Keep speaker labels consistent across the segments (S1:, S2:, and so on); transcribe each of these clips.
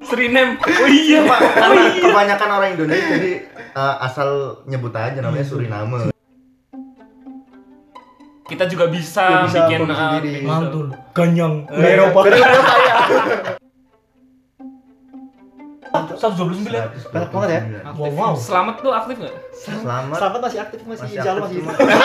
S1: Suriname. Oh iya pak.
S2: Karena kebanyakan orang Indonesia jadi eh, asal nyebut aja namanya Suriname.
S1: Kita juga bisa,
S2: Kita bisa
S1: bikin
S2: produksi
S1: uh,
S2: sendiri.
S1: episode.
S3: mantul ganyang
S2: Dari Eropa. Dari Eropa ya.
S3: 129
S2: Banyak banget ya.
S3: wow wow
S1: Selamat tuh aktif nggak?
S2: Selamat.
S4: Selamat masih aktif masih,
S2: Masih
S4: insya Allah
S2: aktif,
S4: masih.
S2: cuma-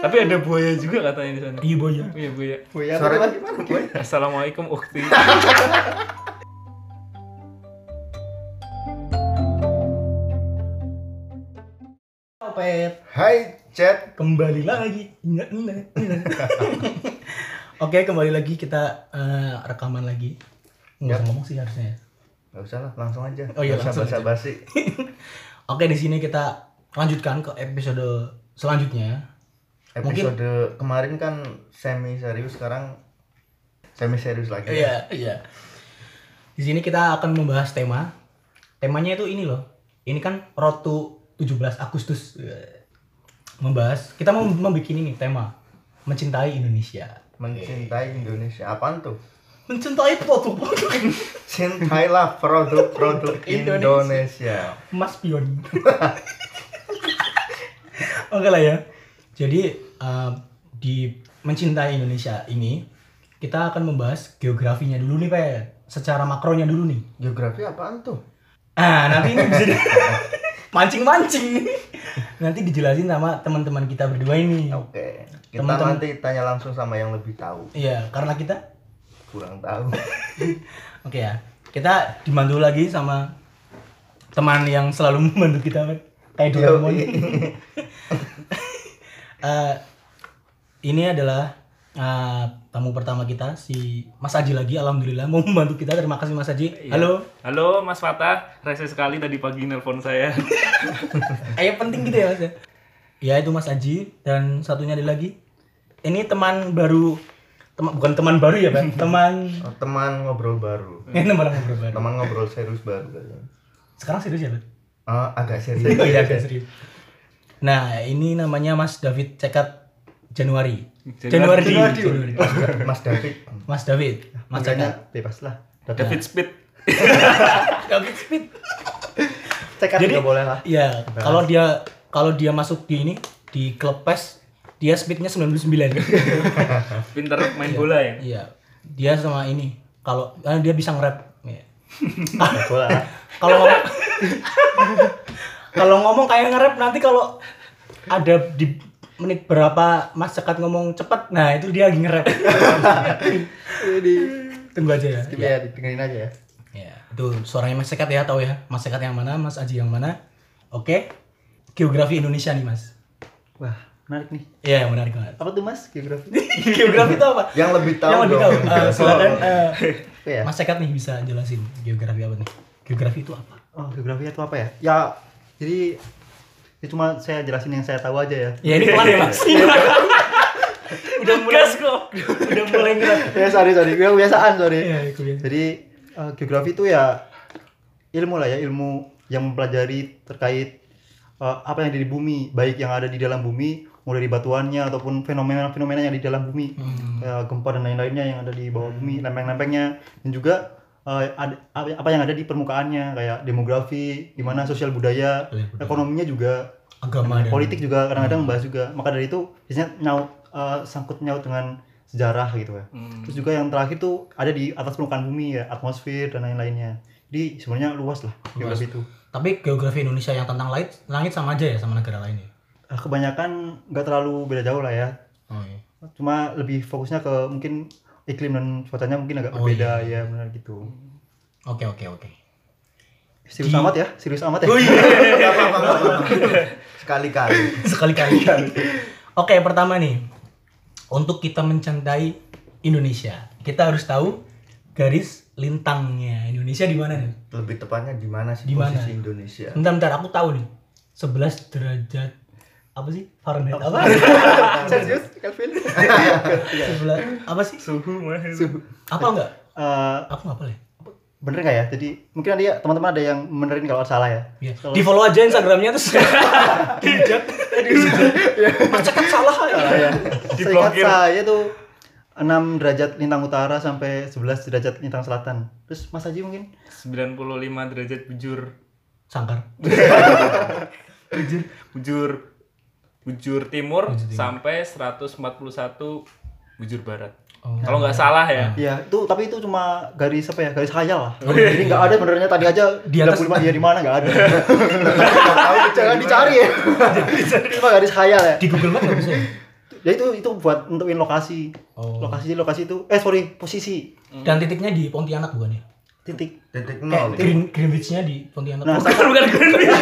S1: Tapi ada buaya juga katanya di sana.
S3: iya boya
S1: Iya buaya.
S4: Oh iya,
S2: Suara-
S4: betul, gimana, Boy?
S1: Assalamualaikum ukti.
S4: Opet.
S2: Hai chat.
S3: kembali lagi Nggak, nggak, nggak. oke kembali lagi kita eh, rekaman lagi nggak usah ngomong sih harusnya ya.
S2: Gak usah lah, langsung aja.
S3: Oh iya,
S2: Gak usah
S3: langsung aja.
S2: basa-basi.
S3: oke di sini kita lanjutkan ke episode selanjutnya Mungkin-
S2: Episode kemarin kan semi serius, sekarang semi serius lagi.
S3: iya iya di sini kita akan membahas tema temanya itu ini loh ini kan road to 17 Agustus membahas kita mau membuat ini tema mencintai Indonesia
S2: Mencintai Indonesia. Apaan tuh?
S3: mencintai produk-produk
S2: Cintailah produk-produk Indonesia.
S3: Indonesia. Mas Pion. Oke lah ya. Jadi eh, di mencintai Indonesia ini kita akan membahas geografinya dulu nih Pak. Secara makronya dulu nih.
S2: Geografi apaan tuh?
S3: Ah nanti ini bisa di- mancing-mancing. nanti dijelasin sama teman-teman kita berdua ini.
S2: Oke. Kita
S3: Teman-teman-
S2: nanti tanya langsung sama yang lebih tahu.
S3: Iya karena kita
S2: Kurang tahu.
S3: oke ya kita dibantu lagi sama teman yang selalu membantu kita Pak. kayak
S2: Yo,
S3: Doraemon.
S2: iya.
S3: Eh, ini adalah eh, tamu pertama kita si Mas Aji lagi alhamdulillah mau membantu kita terima kasih Mas Aji
S2: Iya.
S3: halo
S1: Iya. Halo Mas Fatah, rese sekali tadi pagi nelpon saya.
S3: ayo penting gitu ya Mas ya ya itu Mas Aji dan satunya ada lagi ini teman baru teman bukan teman baru ya Pak teman
S2: Eh, Teman ngobrol baru.
S3: ini teman ngobrol baru
S2: Teman ngobrol serius baru katanya.
S3: sekarang serius ya Pak
S2: Ah, agak serius.
S3: Oh iya, agak serius. Nah, ini namanya Mas David Cekat Januari.
S1: Januari.
S3: Januari. Januari.
S2: Mas David.
S3: Mas David, Mas Cekat.
S2: Makanya bebas lah.
S1: David Speed.
S3: David Speed.
S2: Cekat
S3: Jadi-
S2: juga boleh lah.
S3: Iya, kalau dia kalau dia masuk di ini di klub PES, dia speednya 99.
S1: Pinter main bola ya.
S3: Iya. Dia sama ini kalau eh, dia bisa nge-rap. Iya.
S2: Nggak boleh lah.
S3: Kalau ngomong Kalau ngomong kayak nge-rap nanti kalau ada di menit berapa Mas Cekat ngomong cepet, nah itu dia lagi nge-rap.
S2: Jadi
S3: Tunggu aja ya.
S2: ya dengerin aja ya.
S3: Ya, itu suaranya Mas Sekat ya, tahu ya. Mas Sekat yang mana, Mas Aji yang mana. Oke. Geografi Indonesia nih, Mas.
S4: Wah, menarik nih.
S3: Iya, yang menarik banget.
S4: Apa tuh Mas geografi?
S3: geografi itu apa?
S2: Yang lebih tahu
S3: yang lebih
S2: dong.
S3: tahu. Eh, silakan eh,
S4: Oh,
S2: Oke
S4: iya.
S2: ya.
S3: Mas Sekat nih bisa jelasin geografi apa nih. Geografi itu apa?
S4: Oh, geografi itu apa ya? Ya, jadi ya cuma saya jelasin yang saya tahu aja ya.
S3: Ya ini pelan ya, Mas.
S1: Iya.
S3: udah mulai kok. udah mulai ngerat.
S4: ya sorry sorry, gue kebiasaan sorry.
S3: Iya, itu biasa.
S4: Jadi eh, geografi itu ya ilmu lah ya ilmu yang mempelajari terkait eh, apa yang ada di bumi, baik yang ada di dalam bumi, mulai dari batuannya ataupun fenomena-fenomena yang ada di dalam bumi,
S3: Hmm.
S4: Ya, gempa dan lain-lainnya yang ada di bawah bumi, lempeng-lempengnya, dan juga eh, ada- apa apa yang ada di permukaannya kayak demografi, gimana sosial budaya,
S3: Sosial budaya.
S4: ekonominya juga
S3: Agama dan
S4: politik juga kadang-kadang membahas juga maka dari itu biasanya nyaut eh, sangkut nyaut dengan sejarah gitu ya terus juga yang terakhir tuh ada di atas permukaan bumi ya atmosfer dan lain-lainnya jadi sebenarnya luas lah geografi itu
S3: Tapi geografi Indonesia yang tentang langit, langit sama aja ya sama negara lain ya.
S4: Eh, kebanyakan nggak terlalu beda jauh lah ya
S3: Oh iya.
S4: cuma lebih fokusnya ke mungkin iklim dan cuacanya mungkin agak
S3: Oh,
S4: berbeda ya benar gitu
S3: Oke, oke, oke.
S4: serius amat ya serius amat ya
S2: Nggak apa-apa, nggak apa-apa. Sekali-kali.
S3: sekali-kali. Oke, pertama nih. Untuk kita mencintai Indonesia, kita harus tahu garis lintangnya Indonesia di mana nih?
S2: Lebih tepatnya di mana sih
S3: Di mana?
S2: posisi Indonesia?
S3: Bentar, bentar, aku tahu nih. 11 derajat apa sih? Fahrenheit apa?
S4: serius Kelvin
S3: 11 apa sih?
S1: Suhu mah.
S3: Apa enggak?
S4: Eh,
S3: Aku enggak boleh.
S4: bener nggak ya jadi mungkin ada ya teman-teman ada yang benerin kalau salah ya
S3: Ya.
S4: Kalau-
S3: Di follow aja Instagramnya terus dihujat, dihujat. Mas Cekat salah.
S4: ya.
S1: Diblokir.
S4: Seingat saya tuh 6 derajat lintang utara sampai 11 derajat lintang selatan. Terus Mas Haji mungkin
S1: 95 derajat bujur.
S3: Sangkar.
S1: Bujur, bujur. Bujur timur,
S3: Bujur timur.
S1: sampai 141 bujur barat.
S3: Oh.
S1: Kalau nggak salah ya.
S4: Iya, itu tapi itu cuma garis apa ya? Garis khayal lah. Jadi nggak ada benernya tadi aja
S3: Di atas-
S4: 35 iya di mana nggak ada.
S2: tahu
S4: Jangan dicari ya. Itu cuma garis khayal ya.
S3: Di Google Maps nggak bisa ya?
S4: Ya itu itu buat nentuin lokasi.
S3: Oh.
S4: Lokasi lokasi itu eh sorry posisi
S3: Dan titiknya di Pontianak bukan ya?
S4: titik.
S2: titik
S3: Kayak
S2: nol
S3: Green Greenwich-nya di Pontianak.
S4: iya. Nah,
S1: Bukan, bukan Greenwich.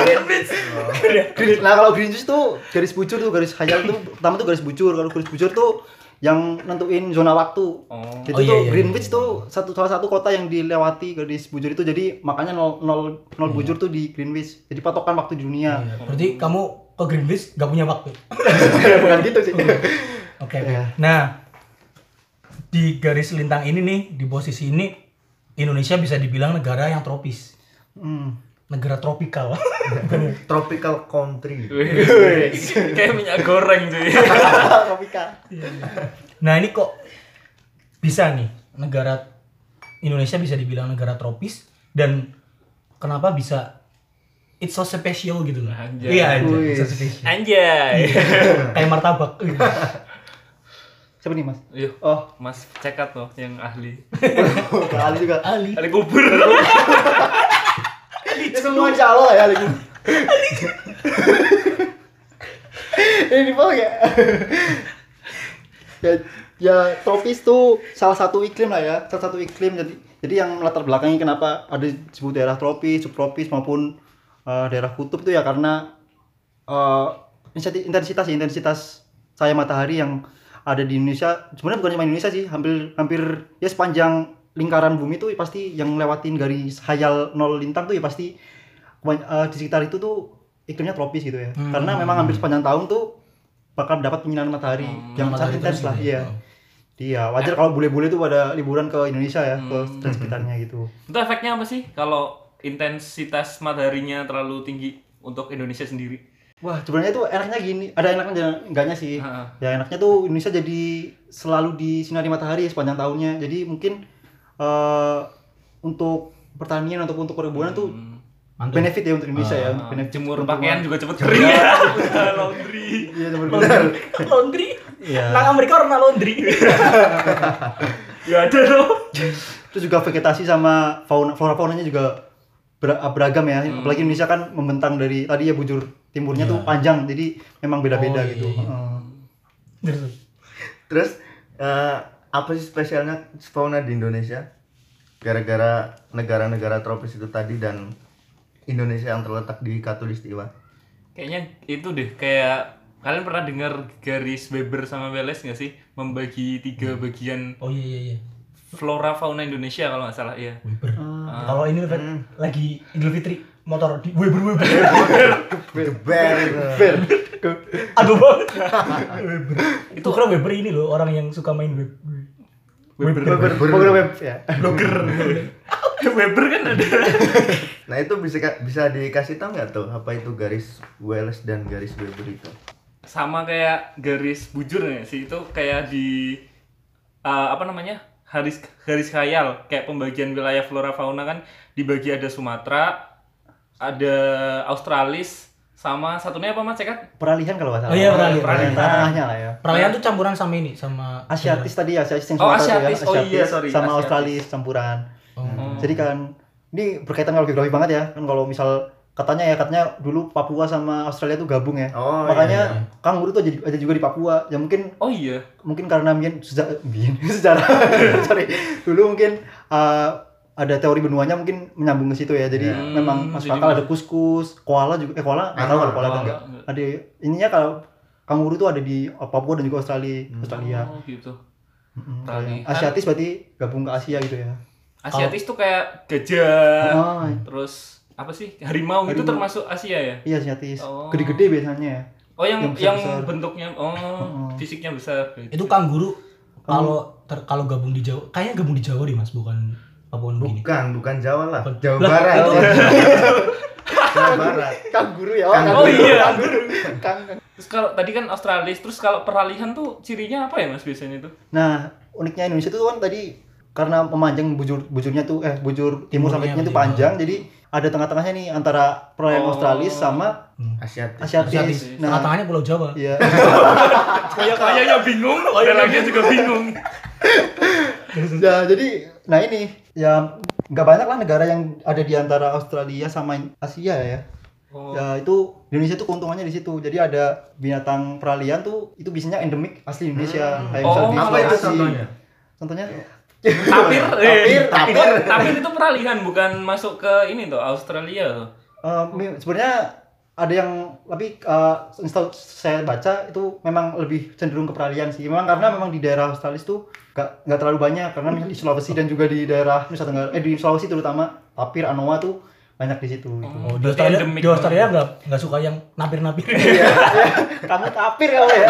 S1: Greenwich.
S4: Green- nah kalau Greenwich tuh garis bujur tuh garis khayal tuh pertama tuh garis bujur kalau garis bujur tuh yang nentuin zona waktu.
S1: Oh.
S4: Itu
S3: Oh, iya,
S4: tuh
S3: iya,
S4: Greenwich
S3: iya, iya.
S4: tuh satu salah satu kota yang dilewati garis bujur itu jadi makanya nol nol, nol bujur tuh di Greenwich. Jadi patokan waktu di dunia.
S3: Iya, Berarti kamu ke Greenwich nggak punya waktu. Iya.
S4: Bukan gitu sih.
S3: Oke. oke.
S4: Iya.
S3: Nah, di garis lintang ini nih, di posisi ini Indonesia bisa dibilang negara yang tropis.
S4: Hmm.
S3: Negara tropikal.
S4: Iya.
S3: ya?
S2: tropical country
S1: Kayak minyak goreng cuy.
S4: Tropika.
S3: nah, ini kok bisa nih negara Indonesia bisa dibilang negara tropis dan kenapa bisa it's so special gitu loh.
S1: Anjay.
S3: Iya, anjay, it's so
S4: Wih.
S3: special.
S1: Anjay.
S3: Kayak martabak.
S4: Siapa nih, Mas?
S1: Yuk,
S4: Oh,
S1: Mas cekat loh yang ahli.
S4: Ali juga.
S3: Ali.
S1: Ahli kubur.
S4: Ini semua calo ya lagi. Ini di bawah ya. ya. Ya tropis tuh salah satu iklim lah ya, salah satu iklim jadi jadi yang latar belakangnya kenapa ada disebut daerah tropis, subtropis maupun eh, daerah kutub tuh ya karena eh, intensi- intensitas intensitas cahaya matahari yang ada di Indonesia sebenarnya bukan cuma Indonesia sih hampir hampir ya sepanjang lingkaran bumi tuh pasti yang lewatin garis hayal nol lintang tuh ya pasti kebany- eh, di sekitar itu tuh iklimnya tropis gitu ya
S3: Hmm.
S4: karena memang hampir sepanjang tahun tuh bakal dapat penyinaran matahari
S1: Hmm,
S4: yang sangat
S3: matahari
S4: intens
S3: terus
S4: lah
S3: gitu ya.
S4: iya iya wajar kalau bule-bule tuh pada liburan ke Indonesia ya ke
S1: Hmm.
S4: dan sekitarnya gitu
S1: Itu efeknya apa sih kalau intensitas mataharinya terlalu tinggi untuk Indonesia sendiri?
S4: Wah, sebenarnya tuh enaknya gini, ada enaknya dan enggaknya sih.
S1: Ha.
S4: Ya enaknya tuh Indonesia jadi selalu disinari matahari sepanjang tahunnya. Jadi mungkin eh untuk pertanian ataupun untuk perkebunan tuh
S3: Mantap.
S4: benefit ya untuk Indonesia ya.
S1: Nah,
S4: Benefit
S1: Hmm. jemur
S4: untuk-
S1: pakaian juga cepet kering ya. Udah laundry.
S4: Iya, jemur
S3: laundry
S4: Iya.
S3: Nang Amerika orang laundry
S1: Gak ada loh.
S4: Terus juga vegetasi sama fauna flora faunanya juga ber- beragam ya. Apalagi Indonesia kan membentang dari tadi ya bujur timurnya tuh panjang. Jadi memang beda-beda
S3: Oh, iya,
S4: gitu.
S3: iya.
S4: Heeh.
S3: Terus,
S2: terus eh, apa sih spesialnya fauna di Indonesia gara-gara negara-negara tropis itu tadi dan Indonesia yang terletak di Katulistiwa
S1: Kayaknya itu deh kayak kalian pernah dengar garis Weber sama Wallace nggak sih membagi tiga bagian
S3: Oh iya iya iya.
S1: flora fauna Indonesia kalau nggak salah ya.
S3: Weber. Kalau ini Fet, lagi Idul Fitri motor di Weber Weber.
S2: Geber
S4: Fair.
S3: Aduh banget. Weber. Itu karena Weber ini loh orang yang suka main web.
S4: Ber- ber- ber- ber- ber- ya.
S1: Weber kan ada.
S2: nah itu bisa bisa dikasih tahu nggak tuh apa itu garis Wallace dan garis Weber itu
S1: sama kayak garis bujur ya sih itu kayak di eh, apa namanya garis garis khayal kayak pembagian wilayah flora fauna kan dibagi ada Sumatera ada Australis sama satunya apa mas cekat
S4: Peralihan kalau nggak salah.
S3: Oh iya, peralihan.
S4: tanahnya lah ya.
S3: Perayaan tuh campuran sama ini sama
S4: Asiatis tadi Asiatis yang
S1: Oh,
S4: Sumatera tuh ya.
S1: Asiatis. Oh, iya, sorry,
S4: sama
S1: Asiatis.
S4: Australis campuran.
S3: Oh.
S2: Hmm.
S4: Nah, Jadi kan ini berkaitan dengan geografi banget ya. Kan kalau misal katanya ya katanya dulu Papua sama Australia tuh gabung ya.
S2: Oh,
S4: Makanya kanguru tuh jadi- ada juga di Papua. Ya mungkin
S1: oh iya
S4: mungkin karena mungkin sejarah, sejarah sorry dulu mungkin eh, ada teori benuanya mungkin menyambung ke situ ya jadi
S1: Ya.
S4: memang
S1: Hmm,
S4: masuk
S1: jadi
S4: akal
S1: mas-
S4: ada kuskus koala juga eh koala nggak tahu
S2: Koala,
S4: kalau koala ada
S1: koala.
S4: nggak ada ya, ininya kalau kanguru tuh ada di Papua dan juga Australia Australia
S1: oh gitu
S4: Mm-mm,
S1: Peralihan.
S4: kayak Asiatis berarti gabung ke Asia gitu ya
S1: Asiatis tuh kayak gajah
S4: oh
S1: terus apa sih harimau itu
S4: Harimau.
S1: termasuk Asia ya
S4: iya Asiatis
S1: Oh.
S4: gede-gede biasanya ya
S1: oh yang
S4: Yang
S1: yang,
S4: besar-besar.
S1: bentuknya oh
S4: Mm-mm.
S1: fisiknya besar
S3: Itu kangguru kalau ter- kalau gabung di Jawa, kayaknya gabung di Jawa deh Mas, bukan Papua Nugini.
S2: bukan bukan Jawa lah
S3: Bukan.
S2: Jawa
S3: Lah,
S2: Barat
S3: itu-
S2: Jawa Barat.
S4: Kangguru ya.
S1: Eh, Oh iya.
S4: Kangguru. Kang-
S1: Terus kalau tadi kan Australis, terus kalau peralihan tuh cirinya apa ya Mas biasanya itu?
S4: Nah, uniknya Indonesia itu kan tadi karena memanjang bujur bujurnya tuh eh bujur
S3: Timurnya,
S4: timur sampainya itu
S3: iya.
S4: panjang jadi ada tengah-tengahnya nih antara
S1: Oh.
S4: perairan Australis sama
S2: Asiatis.
S4: Asiatis.
S1: Asiatis.
S4: Nah,
S3: Tengah-tengahnya Pulau Jawa.
S4: iya.
S1: Kayak kayaknya bingung, dalamnya juga bingung.
S4: Nah, jadi nah ini ya nggak banyak lah negara yang ada di antara Australia sama Asia ya.
S1: Oh.
S4: Ya itu Indonesia tuh keuntungannya di situ. Jadi ada binatang peralihan tuh itu biasanya endemik asli Indonesia kayak
S1: Oh,
S4: misalnya
S1: apa itu
S4: isolasi.
S2: contohnya?
S4: Contohnya
S1: Tapir,
S4: Tapir,
S1: eh,
S4: tapir.
S1: itu- tapir itu peralihan bukan masuk ke ini tuh Australia tuh.
S4: eh, mi- sebenarnya ada yang tapi eh, setahu saya baca itu memang lebih cenderung ke peralihan sih. Memang karena memang di daerah Australia tuh nggak nggak terlalu banyak karena misalnya di Sulawesi dan juga di daerah Nusa Tenggara eh di Sulawesi terutama tapir anoa tuh banyak di situ. gitu.
S3: Oh,
S1: Hmm.
S3: di
S1: Berarti
S3: Australia,
S1: endemik
S3: di Australia nggak nggak suka yang napir-napir.
S4: Kamu tapir kamu ya.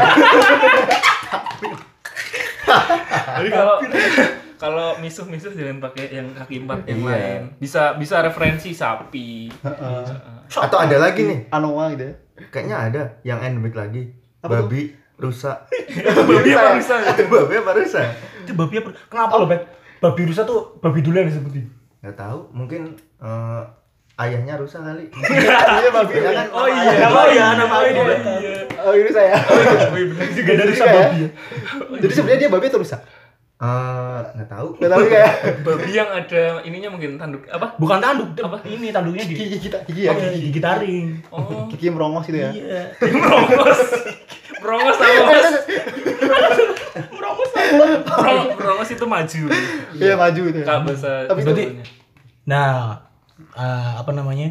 S1: Jadi kalau kalau misuh-misuh jangan pakai yang kaki empat yang
S2: Iya.
S1: lain. Bisa bisa referensi sapi.
S4: Heeh.
S2: Atau ada lagi nih,
S4: Anoa gitu ya.
S2: kayaknya ada yang endemik lagi.
S4: Apa tuh?
S2: Babi, rusa.
S1: Babi apa rusa?
S2: Babi apa rusa?
S3: itu babi apa? Kenapa lo, Bet? Babi rusa tuh babi dulu yang disebutin.
S2: Gak tahu, mungkin eh, ayahnya rusa kali.
S4: Iya, babi.
S2: Iya kan?
S1: Oh
S2: Nama
S1: iya,
S3: nama ayah, nama ayah.
S1: Oh iya.
S4: Oh, ini saya.
S1: Oh iya, bener juga.
S3: Gak ada rusa
S4: Iya.
S3: babi ya.
S4: Jadi sebenarnya dia babi atau rusak?
S2: Eh, nggak tahu.
S4: Gak tahu ya. kayak
S1: Babi yang ada ininya mungkin tanduk apa?
S3: Bukan tanduk,
S1: Apa?
S3: apa? ini tanduknya di
S4: gigi gigi gigi ya.
S3: Oh, gigi gigi taring.
S1: Oh,
S4: Gigi merongos gitu ya.
S3: Iya.
S1: brongos. Brongos sama mas.
S3: Iya.
S1: Brong- Brongos itu maju.
S4: Iya maju itu. ya.
S1: Kak bahasa.
S4: Tapi
S3: berarti-
S1: Jawanya.
S3: Nah, eh, apa namanya?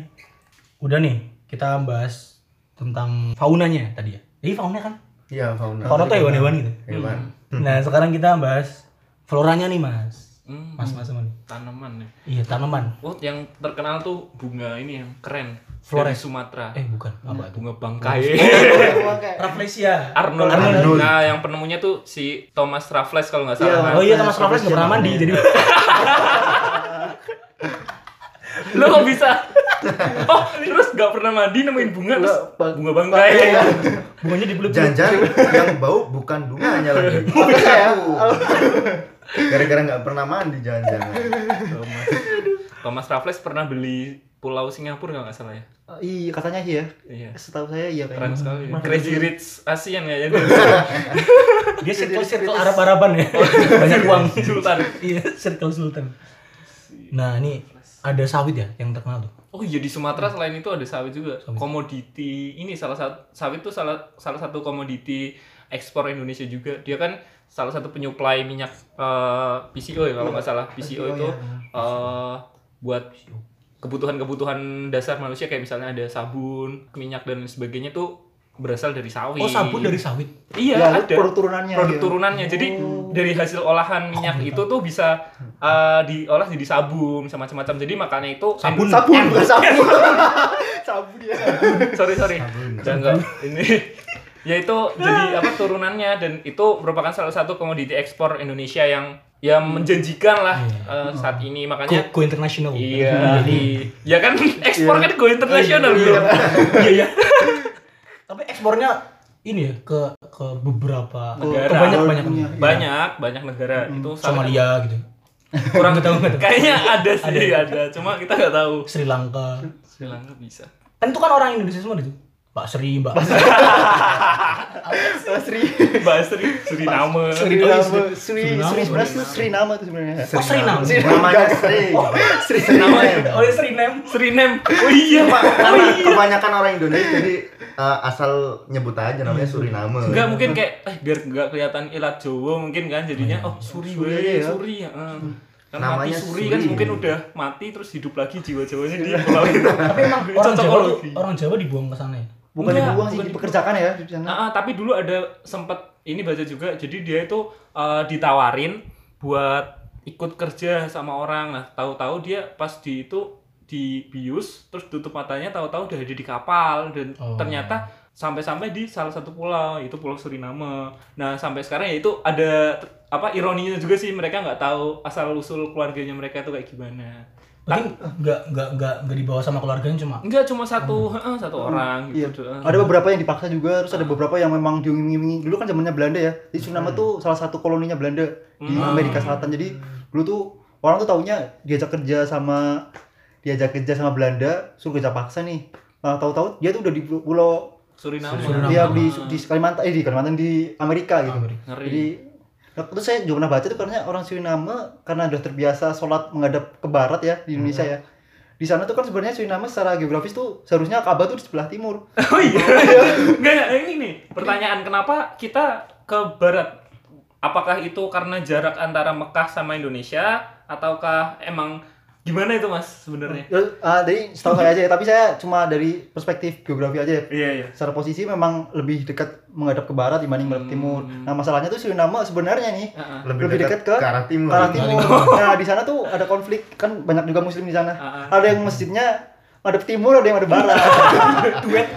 S3: Udah nih, kita bahas tentang faunanya tadi ya. Jadi fauna kan?
S2: Iya, fauna.
S3: Fauna tuh hewan-hewan gitu.
S2: Hewan.
S3: Nah, sekarang kita bahas floranya nih, Mas.
S1: Hmm,
S3: Mas, Mas, teman.
S1: tanaman ya.
S3: Iya, tanaman.
S1: Oh, yang terkenal tuh bunga ini yang keren. Dari
S3: Flores.
S1: Sumatera.
S3: Eh, bukan. Apa itu?
S1: bunga bangkai.
S4: Emang kayak-
S3: Rafflesia.
S1: Arnold.
S3: Arnold.
S1: Nah, yang penemunya tuh si Thomas Raffles kalau nggak salah.
S4: Iya,
S1: kan?
S3: Oh iya, Thomas Raffles nggak pernah mandi jadi.
S1: Lo kok bisa? Oh, terus nggak pernah mandi nemuin bunga terus
S4: Nggak, bang-
S1: bunga bangkai.
S3: Iya, Bunganya di peluk.
S2: Jangan yang bau bukan bunganya lagi.
S4: Iya.
S2: Gara-gara nggak pernah mandi jangan-jangan.
S1: Thomas. Thomas Raffles pernah beli pulau Singapura kalau nggak salah ya.
S4: Eh, Iya katanya iya.
S1: Iya.
S4: Setahu saya iya
S1: Keren
S4: kayaknya.
S1: sekali.
S3: Makanya
S1: Crazy Rich ASEAN ya jadi
S3: Dia circle circle Arab Araban ya. Banyak uang.
S1: sultan.
S3: Iya, circle Sultan. Nah, ini ada sawit ya yang terkenal tuh.
S1: Oh iya di Sumatera selain itu ada sawit juga.
S3: Hmm. Sawit.
S1: Komoditi ini salah satu sawit tuh salah salah satu komoditi ekspor Indonesia juga. Dia kan salah satu penyuplai minyak eh, PCO ya kalau
S3: Iya.
S1: nggak salah. PCO itu eh, buat kebutuhan-kebutuhan dasar manusia kayak misalnya ada sabun, minyak dan lain sebagainya tuh berasal dari sawit.
S3: Oh, sabun dari sawit.
S1: Iya,
S4: Ya,
S1: ada.
S4: itu produk turunannya.
S1: produk
S4: iya.
S1: turunannya. Jadi
S3: Oh.
S1: dari hasil olahan minyak itu
S3: iya.
S1: tuh bisa eh, diolah jadi sabun sama macam-macam. Jadi makanya itu
S3: Sabun.
S4: Sabun,
S1: Iya.
S4: bukan sabun. Sabun ya.
S1: sorry sorry
S2: Sabun.
S1: dan enggak ini ya itu
S4: Ah.
S1: jadi apa turunannya dan itu merupakan salah satu komoditi ekspor Indonesia yang ya
S4: Hmm.
S1: menjanjikan lah eh, saat ini
S3: Go,
S1: makanya
S3: go international.
S1: iya i- ya kan ekspor kan go internasional bro
S4: Iya.
S3: iya iya tapi ekspornya ini ya ke ke beberapa
S1: Negara.
S3: ke banyak banyak
S4: Iya.
S1: banyak banyak negara itu salah-
S3: Somalia gitu
S1: kurang
S3: Nggak tahu, nggak tahu.
S1: kayaknya ada sih ada cuma kita nggak tahu
S3: Sri Lanka
S1: Sri Lanka bisa
S3: kan itu kan orang Indonesia semua itu Mbak Sri Mbak
S4: Sri.
S1: Mbak Sri Suriname
S4: Sri
S3: Oh, iya,
S4: nama.
S3: Sri-
S4: Sri
S3: Suriname,
S4: Sri sebenarnya tuh Sri nama tuh sebenarnya.
S3: Oh, Sri Nam.
S2: Sri. Namanya Sri.
S4: Sri.
S1: namanya
S4: iya.
S3: oh ya Sri Nem
S1: Suriname oh iya
S2: Pak, karena kebanyakan orang Indonesia jadi eh, asal nyebut aja namanya Suriname.
S1: Enggak mungkin kayak eh biar enggak kelihatan ilat Jawa mungkin kan jadinya oh Suri
S4: Suri
S1: weh,
S4: ya.
S1: Suri ya. eh. Kan
S2: Namanya
S1: mati Suri,
S2: Suri.
S1: kan mungkin udah mati terus hidup lagi jiwa-jiwanya di pulau itu.
S3: tapi emang orang Jawa tuh
S1: Cocokologi.
S3: orang Jawa dibuang ke sana ya
S4: Bukan
S1: Enggak,
S4: dibuang
S1: Iya,
S4: sih,
S1: bukan
S4: dipekerjakan ya di sana.
S1: Nah, ah, tapi dulu ada sempat ini baca juga jadi dia itu eh, ditawarin buat ikut kerja sama orang. Nah, tahu-tahu dia pas di itu dibius terus tutup matanya tahu-tahu udah ada di kapal dan
S3: Oh.
S1: ternyata sampai-sampai di salah satu pulau itu pulau Suriname. Nah, sampai sekarang ya itu ada ter- apa ironinya juga sih mereka nggak tahu asal usul keluarganya mereka itu kayak gimana.
S3: Berarti nggak nggak nggak nggak dibawa sama keluarganya cuma
S1: Enggak cuma satu, heeh, satu orang
S4: Iya.
S1: gitu doang.
S4: Ada beberapa yang dipaksa juga, terus ada beberapa yang memang diunging-ungingi. Dulu kan zamannya Belanda ya. Jadi Suriname tuh salah satu koloninya Belanda di
S1: Hmm.
S4: Amerika Selatan. Jadi dulu tuh orang tuh taunya diajak kerja sama diajak kerja sama Belanda, suruh kerja paksa nih. Nah, tahu-tahu dia tuh udah di pulau
S1: Suriname.
S3: Suriname.
S4: dia di di Kalimantan eh di Kalimantan di Amerika gitu.
S3: Amerika.
S1: Ngeri.
S4: Jadi nah, terus saya juga pernah baca tuh karena orang Suriname karena udah terbiasa sholat menghadap ke barat ya di Indonesia
S1: Hmm.
S4: ya. Di sana tuh kan sebenarnya Suriname secara geografis tuh seharusnya Ka'bah tuh di sebelah timur.
S1: Oh iya. Enggak, ini nih. Pertanyaan kenapa kita ke barat? Apakah itu karena jarak antara Mekah sama Indonesia ataukah emang gimana itu Mas sebenarnya?
S4: Ya, ah, dari setahu saya aja ya, tapi saya cuma dari perspektif geografi aja ya.
S1: Iya, iya.
S4: Secara posisi memang lebih dekat menghadap ke barat dibanding
S1: Hmm.
S4: menghadap timur. Nah, masalahnya tuh Suriname sebenarnya nih
S1: Heeh.
S2: lebih,
S4: Lebih
S2: dekat,
S4: dekat ke
S2: ke arah timur.
S4: ke arah timur. Nah, di sana tuh ada konflik kan banyak juga muslim di sana.
S1: Ah,
S4: Ada yang masjidnya ngadep timur, ada yang ngadep barat. Duet.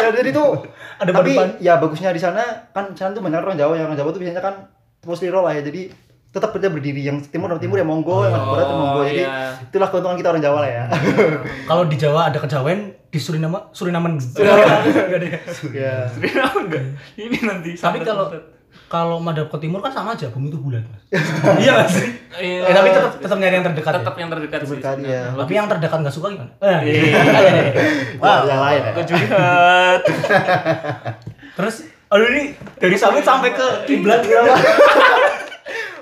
S4: Ya, jadi tuh
S3: Ada
S4: tapi
S3: berdepan.
S4: ya bagusnya di sana kan di sana tuh banyak orang Jawa, yang orang Jawa tuh biasanya kan musliro lah ya. Jadi tetap aja berdiri yang timur dan timur ya monggo, yang barat ya monggo. Jadi
S1: iya.
S4: itulah keuntungan kita orang Jawa lah ya.
S3: Kalau di Jawa ada kejawen, di Suriname Surinamen. Nggak ada ya?
S4: ya.
S1: Suriname enggak? Ini nanti
S3: Tapi
S1: santet-
S3: kalau
S1: santet.
S3: kalau madep ke timur kan sama aja, bumi itu bulat. Mas. Iya nggak sih.
S1: Iya.
S3: Eh, tapi tetap tetap nyari yang terdekat.
S1: tetap
S3: ya?
S1: yang terdekat sih.
S4: Terdekat,
S1: sebenarnya.
S4: iya.
S3: Tapi yang terdekat nggak suka gimana? Eh,
S4: Wah, yang lain ya.
S1: Kejulihat.
S3: Terus, aduh ini dari sawit sampai ke kiblat.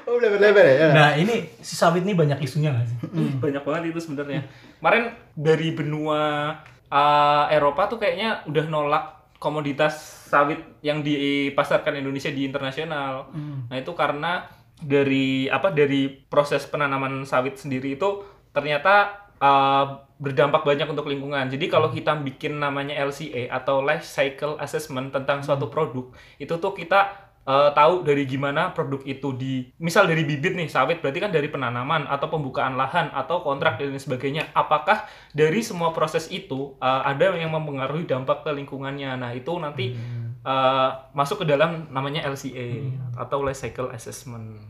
S4: Oh, lebar-lebar ya.
S3: Nah ini si sawit ini banyak isunya nggak sih?
S1: Ih, banyak banget itu sebenarnya. Kemarin dari benua uh, Eropa tuh kayaknya udah nolak komoditas sawit yang dipasarkan Indonesia di internasional. Nah, itu karena dari apa dari proses penanaman sawit sendiri itu ternyata uh, berdampak banyak untuk lingkungan. Jadi
S4: Hmm.
S1: kalau kita bikin namanya LCA atau life cycle assessment tentang suatu
S4: Hmm.
S1: produk, itu tuh kita eh, tahu dari gimana produk itu di misal dari bibit nih sawit berarti kan dari penanaman atau pembukaan lahan atau kontrak dan lain sebagainya apakah dari semua proses itu eh, ada yang mempengaruhi dampak ke lingkungannya nah itu
S4: Hmm.
S1: nanti eh, masuk ke dalam namanya LCA
S4: Hmm.
S1: atau life cycle assessment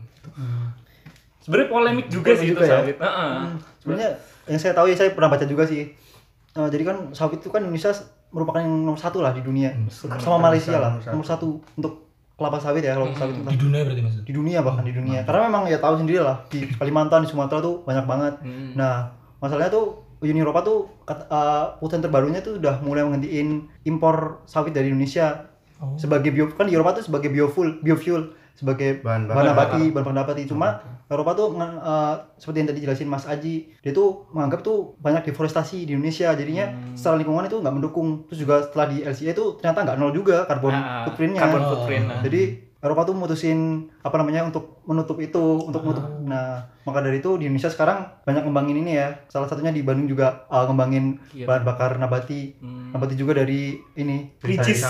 S1: sebenarnya polemik juga
S4: Polemik
S1: sih itu
S4: juga ya.
S1: sawit Heeh.
S4: sebenarnya yang saya tahu ya saya pernah baca juga sih Eh, jadi kan sawit itu kan Indonesia s- merupakan yang nomor satu lah di dunia sama Malaysia lah
S2: Nomor satu.
S4: nomor satu untuk kelapa sawit ya kalau sawit
S3: Di
S4: itu
S3: dunia berarti maksudnya.
S4: di dunia bahkan di dunia karena memang ya tahu sendiri lah di Kalimantan di Sumatera tuh banyak banget
S1: Hmm.
S4: nah masalahnya tuh Uni Eropa tuh kat- eh, putusan terbarunya tuh udah mulai menghentiin impor sawit dari Indonesia
S3: Oh.
S4: sebagai bio kan di Eropa tuh sebagai biofuel biofuel sebagai
S2: Bahan bakar.
S4: bahan nabati bahan bahan nabati cuma Eropa tuh nge- eh, seperti yang tadi jelasin Mas Aji dia tuh menganggap tuh banyak deforestasi di Indonesia jadinya
S1: Hmm.
S4: secara lingkungan itu nggak mendukung terus juga setelah di LCA itu ternyata nggak nol juga Nah, karbon
S1: Ah,
S4: footprintnya Oh.
S1: carbon footprint, nah.
S4: jadi Eropa tuh mutusin apa namanya untuk menutup itu untuk menutup
S1: Ah.
S4: nah maka dari itu di Indonesia sekarang banyak ngembangin ini ya salah satunya di Bandung juga eh, ngembangin
S1: Iya.
S4: bahan bakar nabati
S1: Hmm.
S4: nabati juga dari ini
S1: Ricis.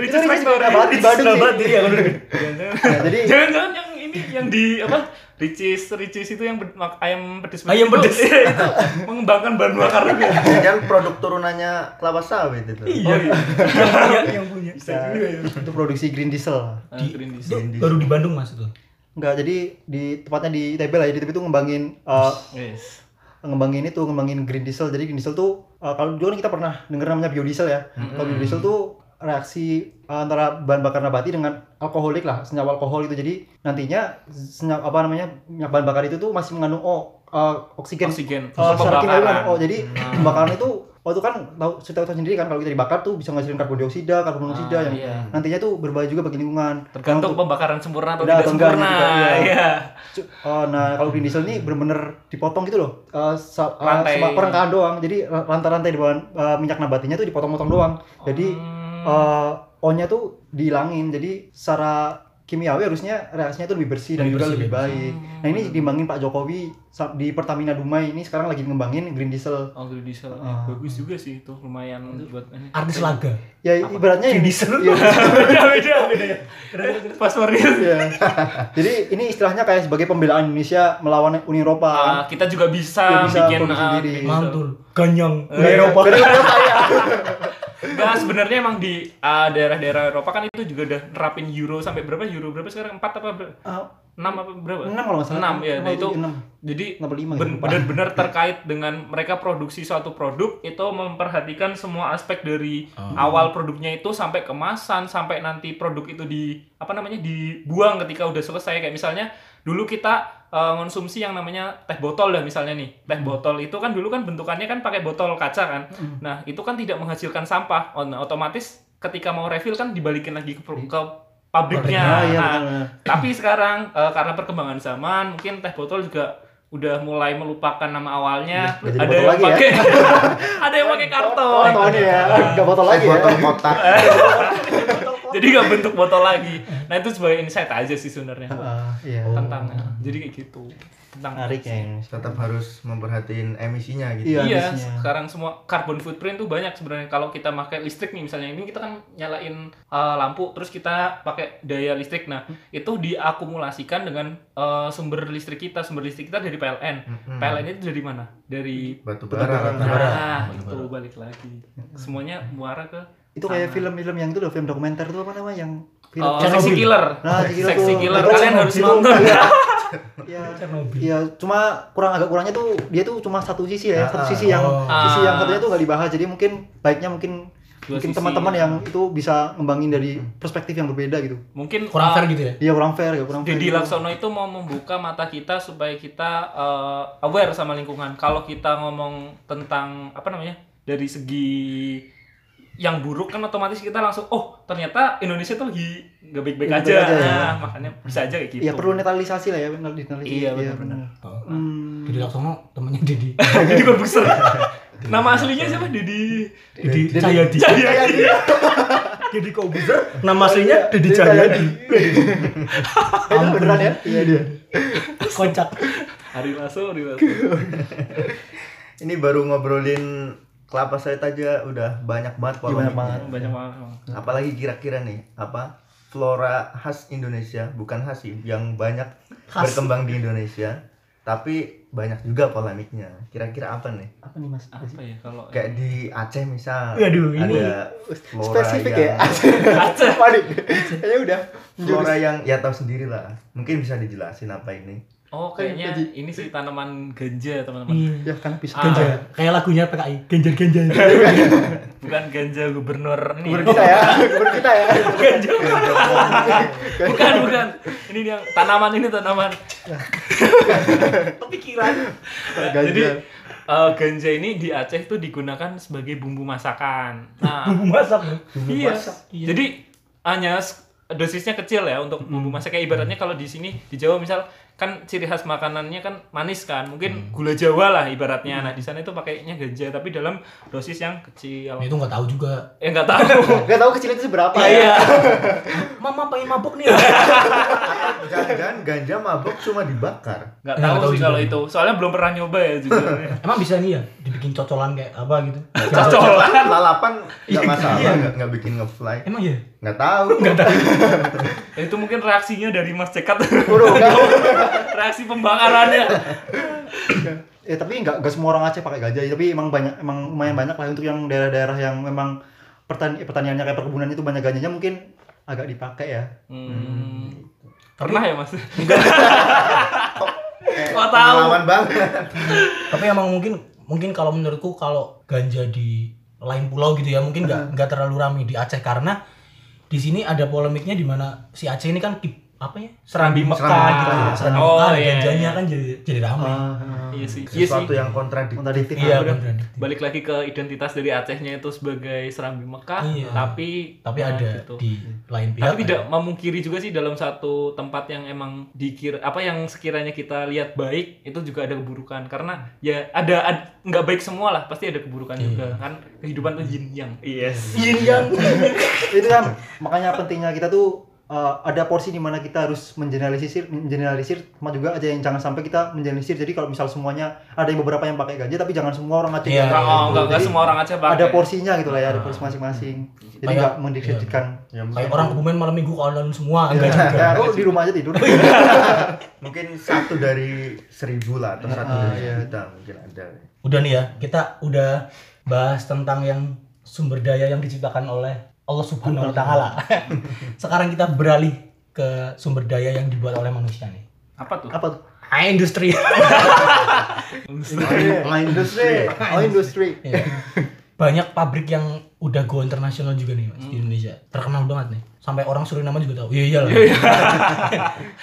S1: Ricis
S4: Itu Ricis
S1: Factory.
S4: Nabati,
S1: Ricis
S4: Bandung sih.
S1: Nabati, ya, bener. Jangan-jangan.
S4: Nah, jadi
S1: Jangan-jangan yang ini yang di apa? Ricis, Ricis itu yang bed- mak- ayam pedes.
S3: Ayam
S1: Itu-
S3: pedes.
S1: iya, itu mengembangkan bahan bakar juga.
S2: kan produk turunannya kelapa sawit itu.
S3: Iya. yang punya, yang punya.
S1: Bisa juga ya.
S4: itu produksi green diesel
S1: Ah, green
S3: Itu
S1: design.
S3: baru di Bandung mas itu.
S4: Enggak, jadi di tepatnya di ITB lah. Jadi ITB itu ngembangin eh,
S1: Yes.
S4: ngembangin itu ngembangin green diesel. Jadi green diesel tuh eh, kalau dulu kan kita pernah denger namanya biodiesel ya. Kalau
S1: Hmm.
S4: biodiesel tuh reaksi eh, antara bahan bakar nabati dengan alkoholik lah, senyawa alkohol itu. Jadi nantinya senyawa apa namanya minyak bahan bakar itu tuh masih mengandung O eh, oksigen.
S1: Oksigen. Oh,
S4: Eh, secara
S1: Pembakaran.
S4: kimia
S1: Hmm.
S4: mengandung O. Jadi pembakaran itu Oh itu kan tahu kita tahu sendiri kan kalau kita dibakar tuh bisa menghasilkan karbon dioksida, karbon
S1: Ah,
S4: monoksida yang
S1: iya.
S4: nantinya tuh berbahaya juga bagi lingkungan.
S1: Tergantung
S4: Untuk-
S1: pembakaran sempurna atau
S4: Udah,
S1: tidak
S4: atau enggak
S1: sempurna.
S4: juga, iya.
S1: Iya.
S4: Cu- Oh, nah kalau green diesel ini bener-bener dipotong gitu loh. Eh, sa- eh,
S1: Rantai.
S4: sama perengkaan doang. Jadi ra- rantai-rantai di bawah eh, minyak nabatinya tuh dipotong-potong doang. Jadi
S1: Hmm.
S4: eh, O-nya tuh dihilangin. Jadi secara kimiawi harusnya reaksinya tuh lebih bersih dan
S3: Lebih
S4: juga
S3: bersih,
S4: lebih
S3: lebih
S4: baik. Nah ini dikembangin Pak Jokowi sa- di Pertamina Dumai ini sekarang lagi ngembangin green diesel.
S1: Oh, green diesel. Eh,
S4: Ah.
S1: Bagus juga sih itu lumayan buat ini.
S3: Artis laga.
S4: Ya ibaratnya
S3: Green
S4: ini-
S3: diesel?
S4: Iya,
S1: Beda beda beda ya. Passwordnya.
S4: iya. Jadi ini istilahnya kayak sebagai pembelaan Indonesia melawan Uni Eropa.
S1: Ah, kita juga bisa,
S4: Ya, bisa
S1: bikin
S4: produksi
S1: ah,
S4: sendiri.
S3: Iya.
S1: green diesel.
S3: Mantul. Ganyang.
S4: Dari Eropa. Dari Iya, Eropa ya.
S1: Nah sebenarnya emang di ah, uh, daerah-daerah Eropa kan itu juga udah nerapin euro sampai berapa euro berapa sekarang empat apa ber-
S4: Eh,
S1: enam apa berapa?
S4: enam kalau nggak salah
S1: Enam, ya. Nah,
S4: atau
S1: itu-
S4: enam
S1: Jadi
S4: enam atau lima gitu,
S1: ben-
S4: lupa.
S1: benar-benar terkait dengan mereka produksi suatu produk itu memperhatikan semua aspek dari
S3: Oh.
S1: awal produknya itu sampai kemasan sampai nanti produk itu di apa namanya dibuang ketika udah selesai kayak misalnya dulu kita eh, konsumsi yang namanya teh botol dah misalnya nih
S4: Hmm.
S1: teh botol itu kan dulu kan bentukannya kan pakai botol kaca kan
S4: Mm.
S1: nah itu kan tidak menghasilkan sampah On- otomatis ketika mau refill kan dibalikin lagi ke, pro- ke pabriknya
S4: Ah, iya,
S1: Nah,
S4: benar, benar.
S1: tapi sekarang eh, karena perkembangan zaman mungkin teh botol juga udah mulai melupakan nama awalnya
S2: Udah
S1: ada
S2: jadi botol
S1: yang
S2: lagi ya?
S1: pakai ada yang pakai
S4: Oh,
S1: karton
S4: tahun ini ya, nggak botol
S2: Saya
S4: lagi ya.
S2: botol kotak.
S1: jadi nggak bentuk botol lagi nah itu sebagai insight aja sih sebenarnya
S4: Ah, iya.
S3: Oh.
S1: tentang jadi kayak gitu tentang
S4: Menarik ya Indonesia.
S2: Tetap harus memperhatiin emisinya gitu.
S4: Iya.
S1: Iya,
S4: habisnya.
S1: sekarang semua carbon footprint tuh banyak sebenarnya. Kalau kita pakai listrik nih misalnya ini kita kan nyalain uh, lampu terus kita pakai daya listrik. Nah, itu diakumulasikan dengan uh, sumber listrik kita. Sumber listrik kita dari PLN.
S3: Hmm.
S2: Mm-mm.
S1: PLN itu dari mana? Dari
S2: batu
S4: Batu bara.
S2: bara rata-rata.
S1: Nah,
S3: Batu bara.
S1: itu balik lagi. Semuanya muara ke
S4: Itu kayak
S1: Sama.
S4: film-film yang itu loh, film dokumenter tuh apa namanya yang film
S1: uh,
S4: Chernobyl.
S1: Sexy Killer.
S4: Nah, Sexy Killer
S1: Sexy
S4: tuh.
S1: Killer.
S4: Nah,
S1: Kalian
S4: Chernobyl
S1: harus
S4: tuh.
S1: nonton. ya.
S4: Iya.
S3: Chernobyl.
S4: Iya, cuma kurang agak kurangnya tuh dia tuh cuma satu sisi ya,
S2: Ah,
S4: satu
S2: ah.
S4: sisi yang
S3: Oh.
S4: sisi yang
S1: Ah.
S4: katanya tuh nggak dibahas. Jadi mungkin baiknya mungkin
S1: Dua
S4: mungkin
S1: sisi.
S4: teman-teman ya. yang itu bisa ngembangin
S3: Hmm.
S4: dari perspektif yang berbeda gitu.
S1: Mungkin
S3: Kurang
S1: uh,
S3: fair gitu ya.
S4: Iya kurang fair, ya kurang fair.
S1: Deddy
S4: gitu.
S1: Laksono itu mau membuka mata kita supaya kita eh, aware sama lingkungan. Kalau kita ngomong tentang apa namanya dari segi yang buruk kan otomatis kita langsung oh ternyata Indonesia tuh lagi nggak baik-baik
S4: Nggak
S1: aja.
S4: baik-baik aja, ya.
S1: Nah, makanya bisa aja kayak gitu.
S4: Iya perlu netralisasi lah ya, netralisasi.
S1: Iya, benar-benar.
S3: Oh.
S4: Hmm.
S3: Jadi Laksono temennya Dedi.
S1: Deddy Corbuzier. Nama aslinya siapa? Deddy
S3: Dedi
S2: Dedi-
S3: Cahyadi.
S4: Iya,
S1: Cahyadi.
S3: Dedi Kobuzer. Nama aslinya Dedi Cahyadi.
S4: Itu beneran ya? Iya dia.
S3: Kocak.
S1: Hari Lasso, Hari Lasso.
S2: Ini baru ngobrolin kelapa sawit aja udah banyak banget polemiknya.
S4: Iya, banyak banget.
S1: Banyak banget. emang.
S2: Apalagi kira-kira nih apa flora khas Indonesia, bukan khas sih, yang banyak
S3: Khas.
S2: berkembang di Indonesia, tapi banyak juga polemiknya. Kira-kira apa nih?
S4: Apa nih Mas?
S1: Apa ya kalau
S2: Kayak di Aceh misal.
S3: Waduh, ini
S2: ada flora
S4: Spesifik ya.
S2: yang,
S4: Aceh. Waduh. Kayaknya udah
S2: flora yang ya tahu sendiri lah. Mungkin bisa dijelasin apa ini.
S1: Oh, kayaknya ini sih tanaman ganja, teman-teman.
S3: Iya.
S4: Ya kan bisa.
S1: Ah.
S3: Ganja. Kayak lagunya PKI. Genjar genjar.
S1: Bukan ganja gubernur nih.
S4: Gubernur kita ya, gubernur kita ya.
S1: Ganja bukan bukan ini dia yang tanaman ini tanaman kepikiran
S4: Ganja.
S1: jadi eh, ganja ini di Aceh itu digunakan sebagai bumbu masakan nah
S3: Bumbu masak.
S1: iya.
S4: masak,
S1: jadi hanya s- dosisnya kecil ya untuk bumbu masak kayak ibaratnya kalau di sini di Jawa misal kan ciri khas makanannya kan manis kan mungkin gula Jawa lah ibaratnya nah di sana itu pakainya ganja tapi dalam dosis yang kecil
S3: Itu nggak tahu juga.
S1: ya nggak tahu
S4: Gak tahu kecil itu seberapa ya.
S1: iya
S3: Mama pengen mabuk nih.
S2: Jangan ganja mabuk cuma dibakar.
S1: nggak
S3: Nggak
S1: tahu
S3: tahu
S1: sih
S3: juga.
S1: kalau itu soalnya belum pernah nyoba ya jujur
S3: Emang bisa nih ya dibikin cocolan kayak apa gitu?
S1: Cocolan.
S2: Lalapan nggak masalah, nggak nggak bikin ngefly.
S3: Emang ya?
S2: Nggak tahu.
S1: Ya, itu mungkin reaksinya dari Mas Cekat.
S4: Waduh, nggak.
S1: Reaksi pembakarannya.
S4: Ya tapi nggak nggak semua orang Aceh pakai gajah, ya. tapi emang banyak emang lumayan banyak lah untuk yang daerah-daerah yang memang pertani pertaniannya kayak perkebunan itu banyak ganjanya mungkin agak dipakai ya.
S1: Hmm. Pernah ya, Mas?
S2: Kayak
S1: Nggak tahu.
S2: Pengalaman banget.
S3: Tapi emang mungkin mungkin kalau menurutku kalau ganja di lain pulau gitu ya mungkin
S1: Hmm.
S3: nggak nggak terlalu ramai di Aceh karena di sini ada polemiknya di mana si Aceh ini kan kip- apa ya serambi Mekah
S2: Serambi
S3: gitu ya
S2: Mekah.
S3: serambi
S1: Oh,
S3: Mekah
S1: iya,
S3: ganjanya
S1: iya.
S3: kan jadi jadi ramai
S4: Ah,
S1: Iya sih. Iya sih.
S2: Sesuatu yang kontradiktif.
S4: kontradiktif.
S3: iya
S4: Ah, udah.
S3: kontradiktif.
S1: Balik lagi ke identitas dari Acehnya itu sebagai serambi Mekah,
S3: Iya.
S1: tapi
S3: tapi
S1: nah,
S3: ada
S1: gitu.
S3: di lain pihak
S1: Tapi tidak memungkiri juga sih dalam satu tempat yang emang dikir apa yang sekiranya kita lihat baik itu juga ada keburukan karena ya ada ad- nggak baik semua lah pasti ada keburukan
S3: Iya.
S1: juga kan kehidupan tuh yin yang Iya. yes
S3: yin yang
S4: itu kan makanya pentingnya kita tuh eh, ada porsi di mana kita harus mengeneralisir mengeneralisir sama juga aja yang jangan sampai kita mengeneralisir jadi kalau misal semuanya ada yang beberapa yang pakai ganja tapi jangan semua orang Aceh
S3: Iya,
S4: yang
S1: nggak oh,
S4: pakai
S1: nggak
S4: gitu.
S1: nggak
S4: Jadi
S1: semua orang Aceh pakai
S4: ada porsinya gitu lah ya ada
S1: Ah.
S4: porsi masing-masing
S2: Iya.
S4: jadi
S3: Kayak-
S4: nggak mendikreditkan
S2: Ya, mungkin-
S3: kayak orang kebumen malam minggu online semua kan. enggak juga
S4: ya lu di rumah aja tidur
S1: Oh, iya.
S2: mungkin satu dari seribu lah atau satu
S4: Ah,
S2: dari
S4: iya.
S2: juta mungkin ada.
S3: udah nih ya kita udah bahas tentang yang sumber daya yang diciptakan oleh Allah Subhanahu wa taala. Sekarang kita beralih ke sumber daya yang dibuat oleh manusia nih.
S1: Apa tuh?
S4: Apa tuh?
S3: Ah, industri.
S2: Main industri.
S4: Oh, industri.
S3: Iya. Banyak pabrik yang udah go internasional juga nih Mas, di Indonesia. Terkenal banget nih. Sampai orang Suriname juga tahu. Iya iyalah.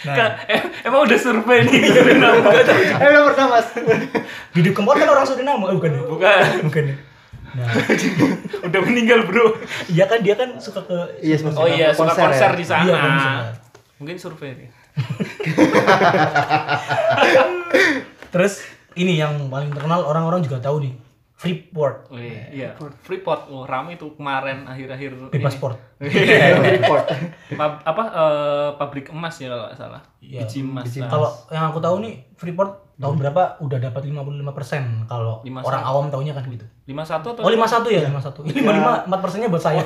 S1: Ka- em- emang udah survei nih kirim nama gua tuh?
S4: Eh, udah pernah, Mas.
S3: Hidup Kempot kan orang Suriname, Eh, bukan. ya?
S1: Bukan.
S3: Bukan. ya? Nah,
S1: Udah meninggal, Bro.
S3: iya kan dia kan suka ke
S4: Iya, Mas.
S1: Oh iya, suka konser di sana.
S3: Iya, kan, suka.
S1: Mungkin survei nih.
S3: Terus ini yang paling terkenal orang-orang juga tahu nih. Freeport,
S1: Oh, iya, iya. Freeport, oh, rame tuh kemarin akhir-akhir
S3: bebas
S1: ini.
S3: port.
S1: Iya.
S4: Report.
S1: Pab- apa eh, pabrik emas ya kalau nggak salah.
S3: Iya.
S1: Biji emas.
S4: Biji
S1: nah.
S3: Kalau yang aku tahu nih Freeport tahun berapa udah dapat 55% kalau
S1: 51.
S3: orang awam taunya kan gitu.
S1: 51 atau
S3: Oh 51 ya 51. Ini 55 4 persennya buat saya.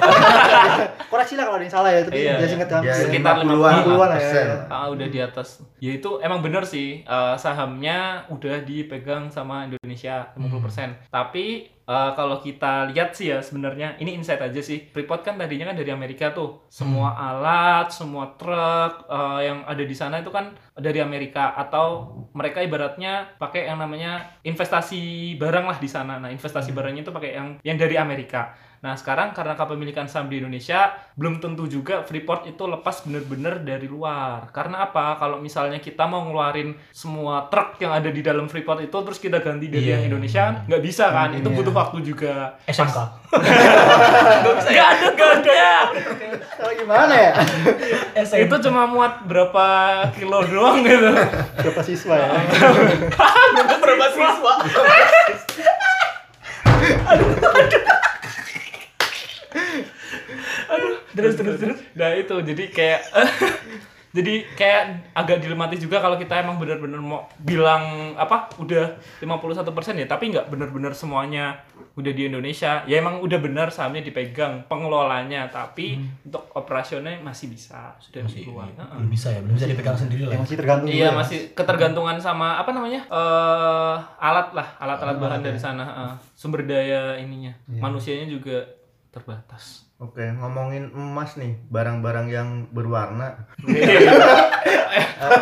S4: Koreksi lah kalau ada yang salah ya, tapi
S1: Iya,
S4: biasa
S1: iya.
S4: ingat kan.
S2: Ya,
S1: Sekitar
S2: 50-an
S4: 50-an lah ya.
S2: persen.
S1: Ah, udah di atas. Ya itu emang bener sih eh, sahamnya udah dipegang sama Indonesia 50%. Tapi eh, kalau kita lihat sih ya sebenarnya ini insight aja sih. Freeport kan tadinya kan dari Amerika tuh. Semua alat, semua truk eh, yang ada di sana itu kan dari Amerika atau mereka ibaratnya pakai yang namanya investasi barang lah di sana. Nah, investasi barangnya itu pakai yang yang dari Amerika. Nah, sekarang karena kepemilikan saham di Indonesia, belum tentu juga Freeport itu lepas bener-bener dari luar. Karena apa? Kalau misalnya kita mau ngeluarin semua truk yang ada di dalam Freeport itu, terus kita ganti dari
S3: Iya.
S1: yang Indonesia, nggak bisa kan? Itu
S4: Iya.
S1: butuh waktu juga.
S3: SMK.
S1: Nggak ada gaknya!
S4: Kalau gimana ya?
S3: SMK.
S1: itu cuma muat berapa kilo doang gitu.
S4: Berapa siswa
S1: Oh.
S4: ya?
S3: berapa siswa?
S1: terus terus terus nah itu jadi kayak jadi kayak agak dilematis juga kalau kita emang benar-benar mau bilang apa udah 51% ya tapi nggak benar-benar semuanya udah di Indonesia ya emang udah benar sahamnya dipegang pengelolanya tapi untuk operasionalnya masih bisa sudah Hmm. masih keluar Heeh.
S3: Belum bisa ya, belum bisa dipegang sendiri
S4: Ya,
S3: lah.
S4: masih tergantung.
S1: Iya
S4: dulu ya.
S1: masih ketergantungan sama apa namanya eh alat ya. Iya. lah alat-alat bahan dari sana heeh. sumber daya ininya manusianya juga terbatas.
S2: Oke, ngomongin emas nih, barang-barang yang berwarna.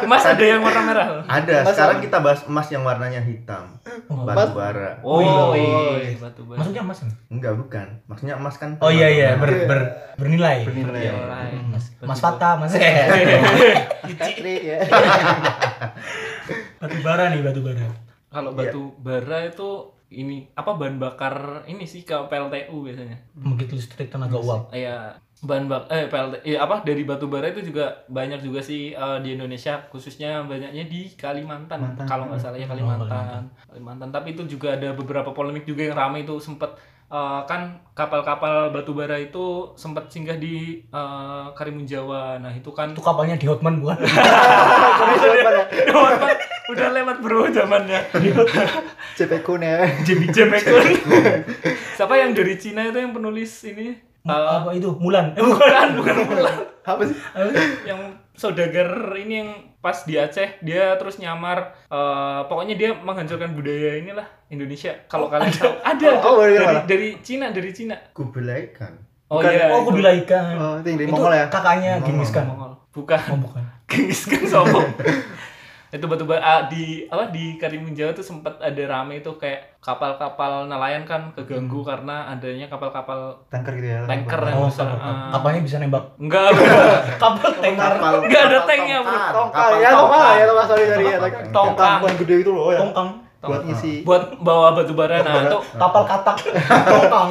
S1: Mas ada yang warna merah. loh.
S2: Ada,
S4: Emas
S2: sekarang
S4: apa?
S2: kita bahas emas yang warnanya hitam. Batu bara.
S1: Oh,
S4: Oh,
S1: iya, batu bara.
S3: Maksudnya Mas. kan?
S2: Enggak, bukan. Maksudnya emas kan.
S3: Oh iya iya, ber, ber, bernilai. Hmm,
S4: Bernilai.
S1: Yang Iya, lain.
S3: Mas, Mas
S1: Batu bara.
S3: Fata, Mas.
S4: Patrick ya.
S3: batu bara nih, batu bara.
S1: Kalau batu bara itu ini apa bahan bakar ini sih ke PLTU biasanya.
S3: Begitu listrik tenaga uap.
S1: Iya, bahan bak eh PLT iya, apa dari batu bara itu juga banyak juga sih eh, di Indonesia khususnya banyaknya di Kalimantan
S4: Kalimantan.
S1: kalau nggak salah ya Kalimantan. Kalimantan tapi itu juga ada beberapa polemik juga yang ramai itu sempet eh, kan kapal-kapal batu bara itu sempet singgah di eh, Karimun Jawa. Nah, itu kan
S3: Itu kapalnya di Hotman bukan?
S1: Lewat, Oh, udah lewat bro zamannya
S4: CP Kun ya.
S1: Jimmy Jam Ekun. siapa yang dari Cina itu yang penulis ini Eh,
S3: Apa itu? Mulan. Eh, bukan.
S1: bukan bukan bukan.
S4: Apa sih?
S1: yang saudagar ini yang pas di Aceh dia terus nyamar eh, pokoknya dia menghancurkan budaya inilah Indonesia kalau kalian tahu ada
S4: Oh, oh, iya,
S1: dari,
S4: malah.
S1: dari Cina dari Cina
S2: Kublai Khan.
S1: oh
S4: Bukan.
S1: iya
S3: Oh,
S1: itu
S3: Kubilai Khan.
S4: Oh, itu yang dari
S3: Itu
S4: Mongol ya?
S3: Kakaknya Genghis Khan.
S1: Mongol bukan
S3: Oh, bukan.
S1: Genghis Khan sombong. itu batu bara ah, di apa di Karimun Jawa tuh sempat ada rame itu kayak kapal-kapal nelayan kan
S4: Hmm.
S1: keganggu karena adanya kapal-kapal
S4: Tanker gitu ya.
S1: tanker yang
S3: Oh,
S1: besar.
S3: kapal.
S1: Ah.
S3: Kapalnya bisa nembak.
S1: enggak enggak.
S3: Kapal tanker.
S2: Kapal-
S1: Nggak ada
S2: kapal
S1: tanknya, bro.
S2: tongkang.
S4: Tongka
S2: Kapal
S4: ya, tongka
S2: tongkang.
S4: ya, tongka sorry sorry ya.
S2: Tongkang.
S4: Tongka.
S1: Tongkang.
S4: Tongkang bukan gede itu loh ya.
S3: Tongkang.
S4: Buat ngisi.
S1: buat bawa batu bara nah itu
S3: Kapal katak. Tongkang.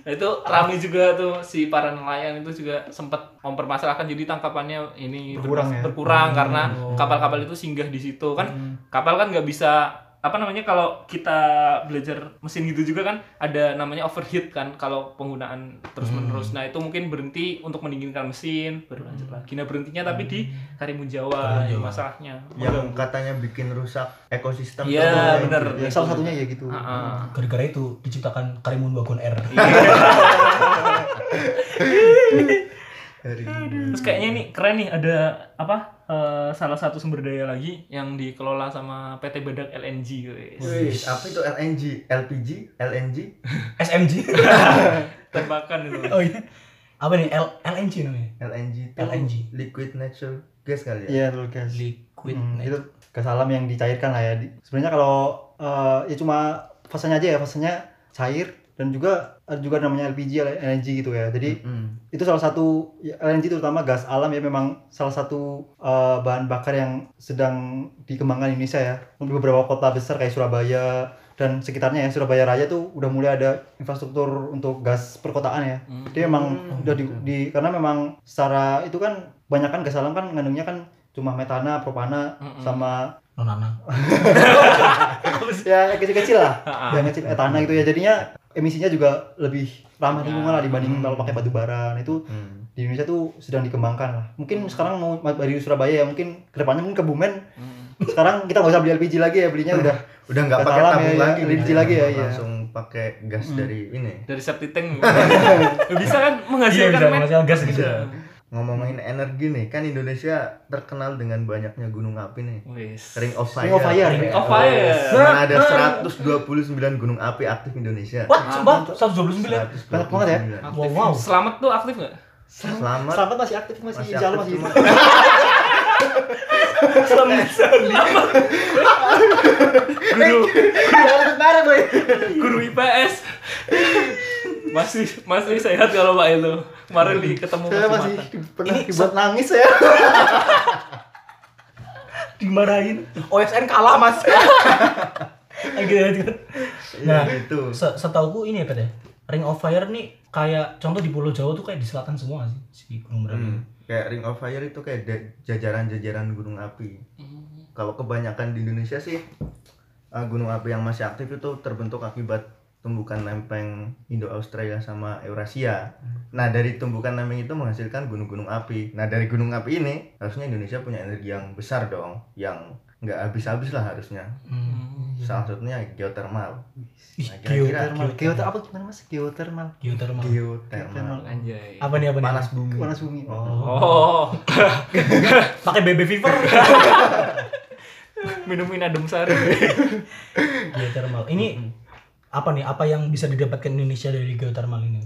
S1: Nah, itu rame juga tuh si para nelayan itu juga sempat mempermasalahkan jadi tangkapannya ini
S4: Berkurang
S1: ber-
S4: ya?
S1: berkurang karena kapal-kapal itu singgah di situ kan kapal kan nggak bisa apa namanya kalau kita belajar mesin gitu juga kan ada namanya overheat kan kalau penggunaan terus menerus nah itu mungkin berhenti untuk mendinginkan mesin baru lanjut lagi nah berhentinya tapi di Karimun Jawa ini masalahnya
S2: Yang katanya bikin rusak ekosistem. tuh.
S1: iya bener
S4: Ya, salah satunya ya gitu.
S1: Heeh.
S3: Gara-gara itu diciptakan Karimun Wagon Air.
S2: Dari
S1: Terus kayaknya ini keren nih ada apa eh, salah satu sumber daya lagi yang dikelola sama PT Badak LNG guys.
S2: Wih, apa itu LNG, LPG, LNG?
S3: SMG.
S1: Tembakan itu.
S3: Oh iya. apa nih L LNG namanya
S2: LNG itu
S3: LNG.
S2: liquid natural gas kali ya
S4: Iya, betul guys.
S3: liquid
S4: Hmm,
S3: nitrogen.
S4: itu gas alam yang dicairkan lah ya. Di- Sebenarnya kalau eh, ya cuma fasenya aja ya, fasenya cair dan juga ada juga namanya LPG, LNG gitu ya. Jadi
S2: Mm-mm.
S4: itu salah satu ya, LNG terutama gas alam ya memang salah satu eh, bahan bakar yang sedang dikembangkan Indonesia ya. Di beberapa kota besar kayak Surabaya dan sekitarnya ya Surabaya Raya tuh udah mulai ada infrastruktur untuk gas perkotaan ya.
S1: Hmm.
S4: Jadi memang
S2: Hmm.
S4: udah di, di- karena memang secara itu kan banyak kan gas alam kan ngandungnya kan cuma metana, propana
S1: Mm-mm.
S4: sama
S3: nonanang
S4: ya kecil-kecil lah.
S1: Ha-ha.
S4: yang kecil etana gitu ya. Jadinya emisinya juga lebih ramah lingkungan lah dibanding
S2: Hmm.
S4: kalau pakai batu bara. Nah, itu
S2: Mm.
S4: di Indonesia tuh sedang dikembangkan lah. Mungkin sekarang mau dari Surabaya ya mungkin kedepannya mungkin ke Bumen.
S1: Hmm.
S4: Sekarang kita nggak usah beli LPG lagi ya belinya udah
S2: udah nggak
S4: Gas
S2: pakai
S4: alam
S2: tabung
S4: ya,
S2: lagi
S4: ya,
S2: gitu
S4: LNG lagi ya, iya.
S2: langsung pakai gas
S4: Mm.
S2: dari ini
S1: dari septic tank bisa kan
S3: iya
S1: menghasilkan
S3: bisa
S1: men? Mm.
S3: menghasilkan gas gitu
S2: Bisa. ngomongin energi nih kan Indonesia terkenal dengan banyaknya gunung api nih
S1: Wis.
S2: Ring of Fire.
S4: Ring of Fire.
S3: Ring
S1: of Fire.
S2: Di mana ada 129 gunung api aktif Indonesia.
S3: wah sumpah 129
S4: Banyak banget ya.
S2: 129.
S3: wow wow
S1: selamat tuh aktif nggak
S2: Selamat.
S4: Selamat masih aktif masih,
S2: Masih
S4: jalan
S2: aktif
S4: masih
S2: cuma-
S1: guru
S2: Jangan marah, Boy.
S1: guru IPS masih masih sehat kalau Pak Elo kemarin di ketemu
S4: Saya
S1: masih
S4: masih
S1: matang.
S4: di- pernah dibuat nangis ya.
S3: dimarahin OSN kalah mas gitu kan
S2: Nah,
S3: Nah.
S2: itu.
S3: Se- setauku ini ya Pet ya Ring of Fire nih kayak contoh di Pulau Jawa tuh kayak di selatan semua sih si Gunung Merapi.
S2: Hmm, Kayak Ring of Fire itu kayak da- jajaran-jajaran gunung api.
S1: Mm.
S2: Kalau kebanyakan di Indonesia sih eh, gunung api yang masih aktif itu terbentuk akibat tumbukan lempeng Indo-Australia sama Eurasia.
S4: Hmm.
S2: Nah, dari tumbukan lempeng itu menghasilkan gunung-gunung api. Nah, dari gunung api ini harusnya Indonesia punya energi yang besar dong, yang nggak habis-habis lah harusnya.
S3: Hmm.
S4: Iya.
S2: Salah satunya geotermal.
S3: Ih,
S2: Nah, kira-kira
S3: geotermal,
S4: Geotermal apa gimana Mas? Geotermal.
S3: geotermal.
S2: Geotermal.
S1: anjay
S3: Apa nih apa nih?
S2: Panas bumi.
S4: Panas bumi. Oh.
S1: oh
S3: Pakai BB fever.
S1: minumin adem sari
S3: geotermal. Ini apa nih? Apa yang bisa didapatkan Indonesia dari geotermal ini?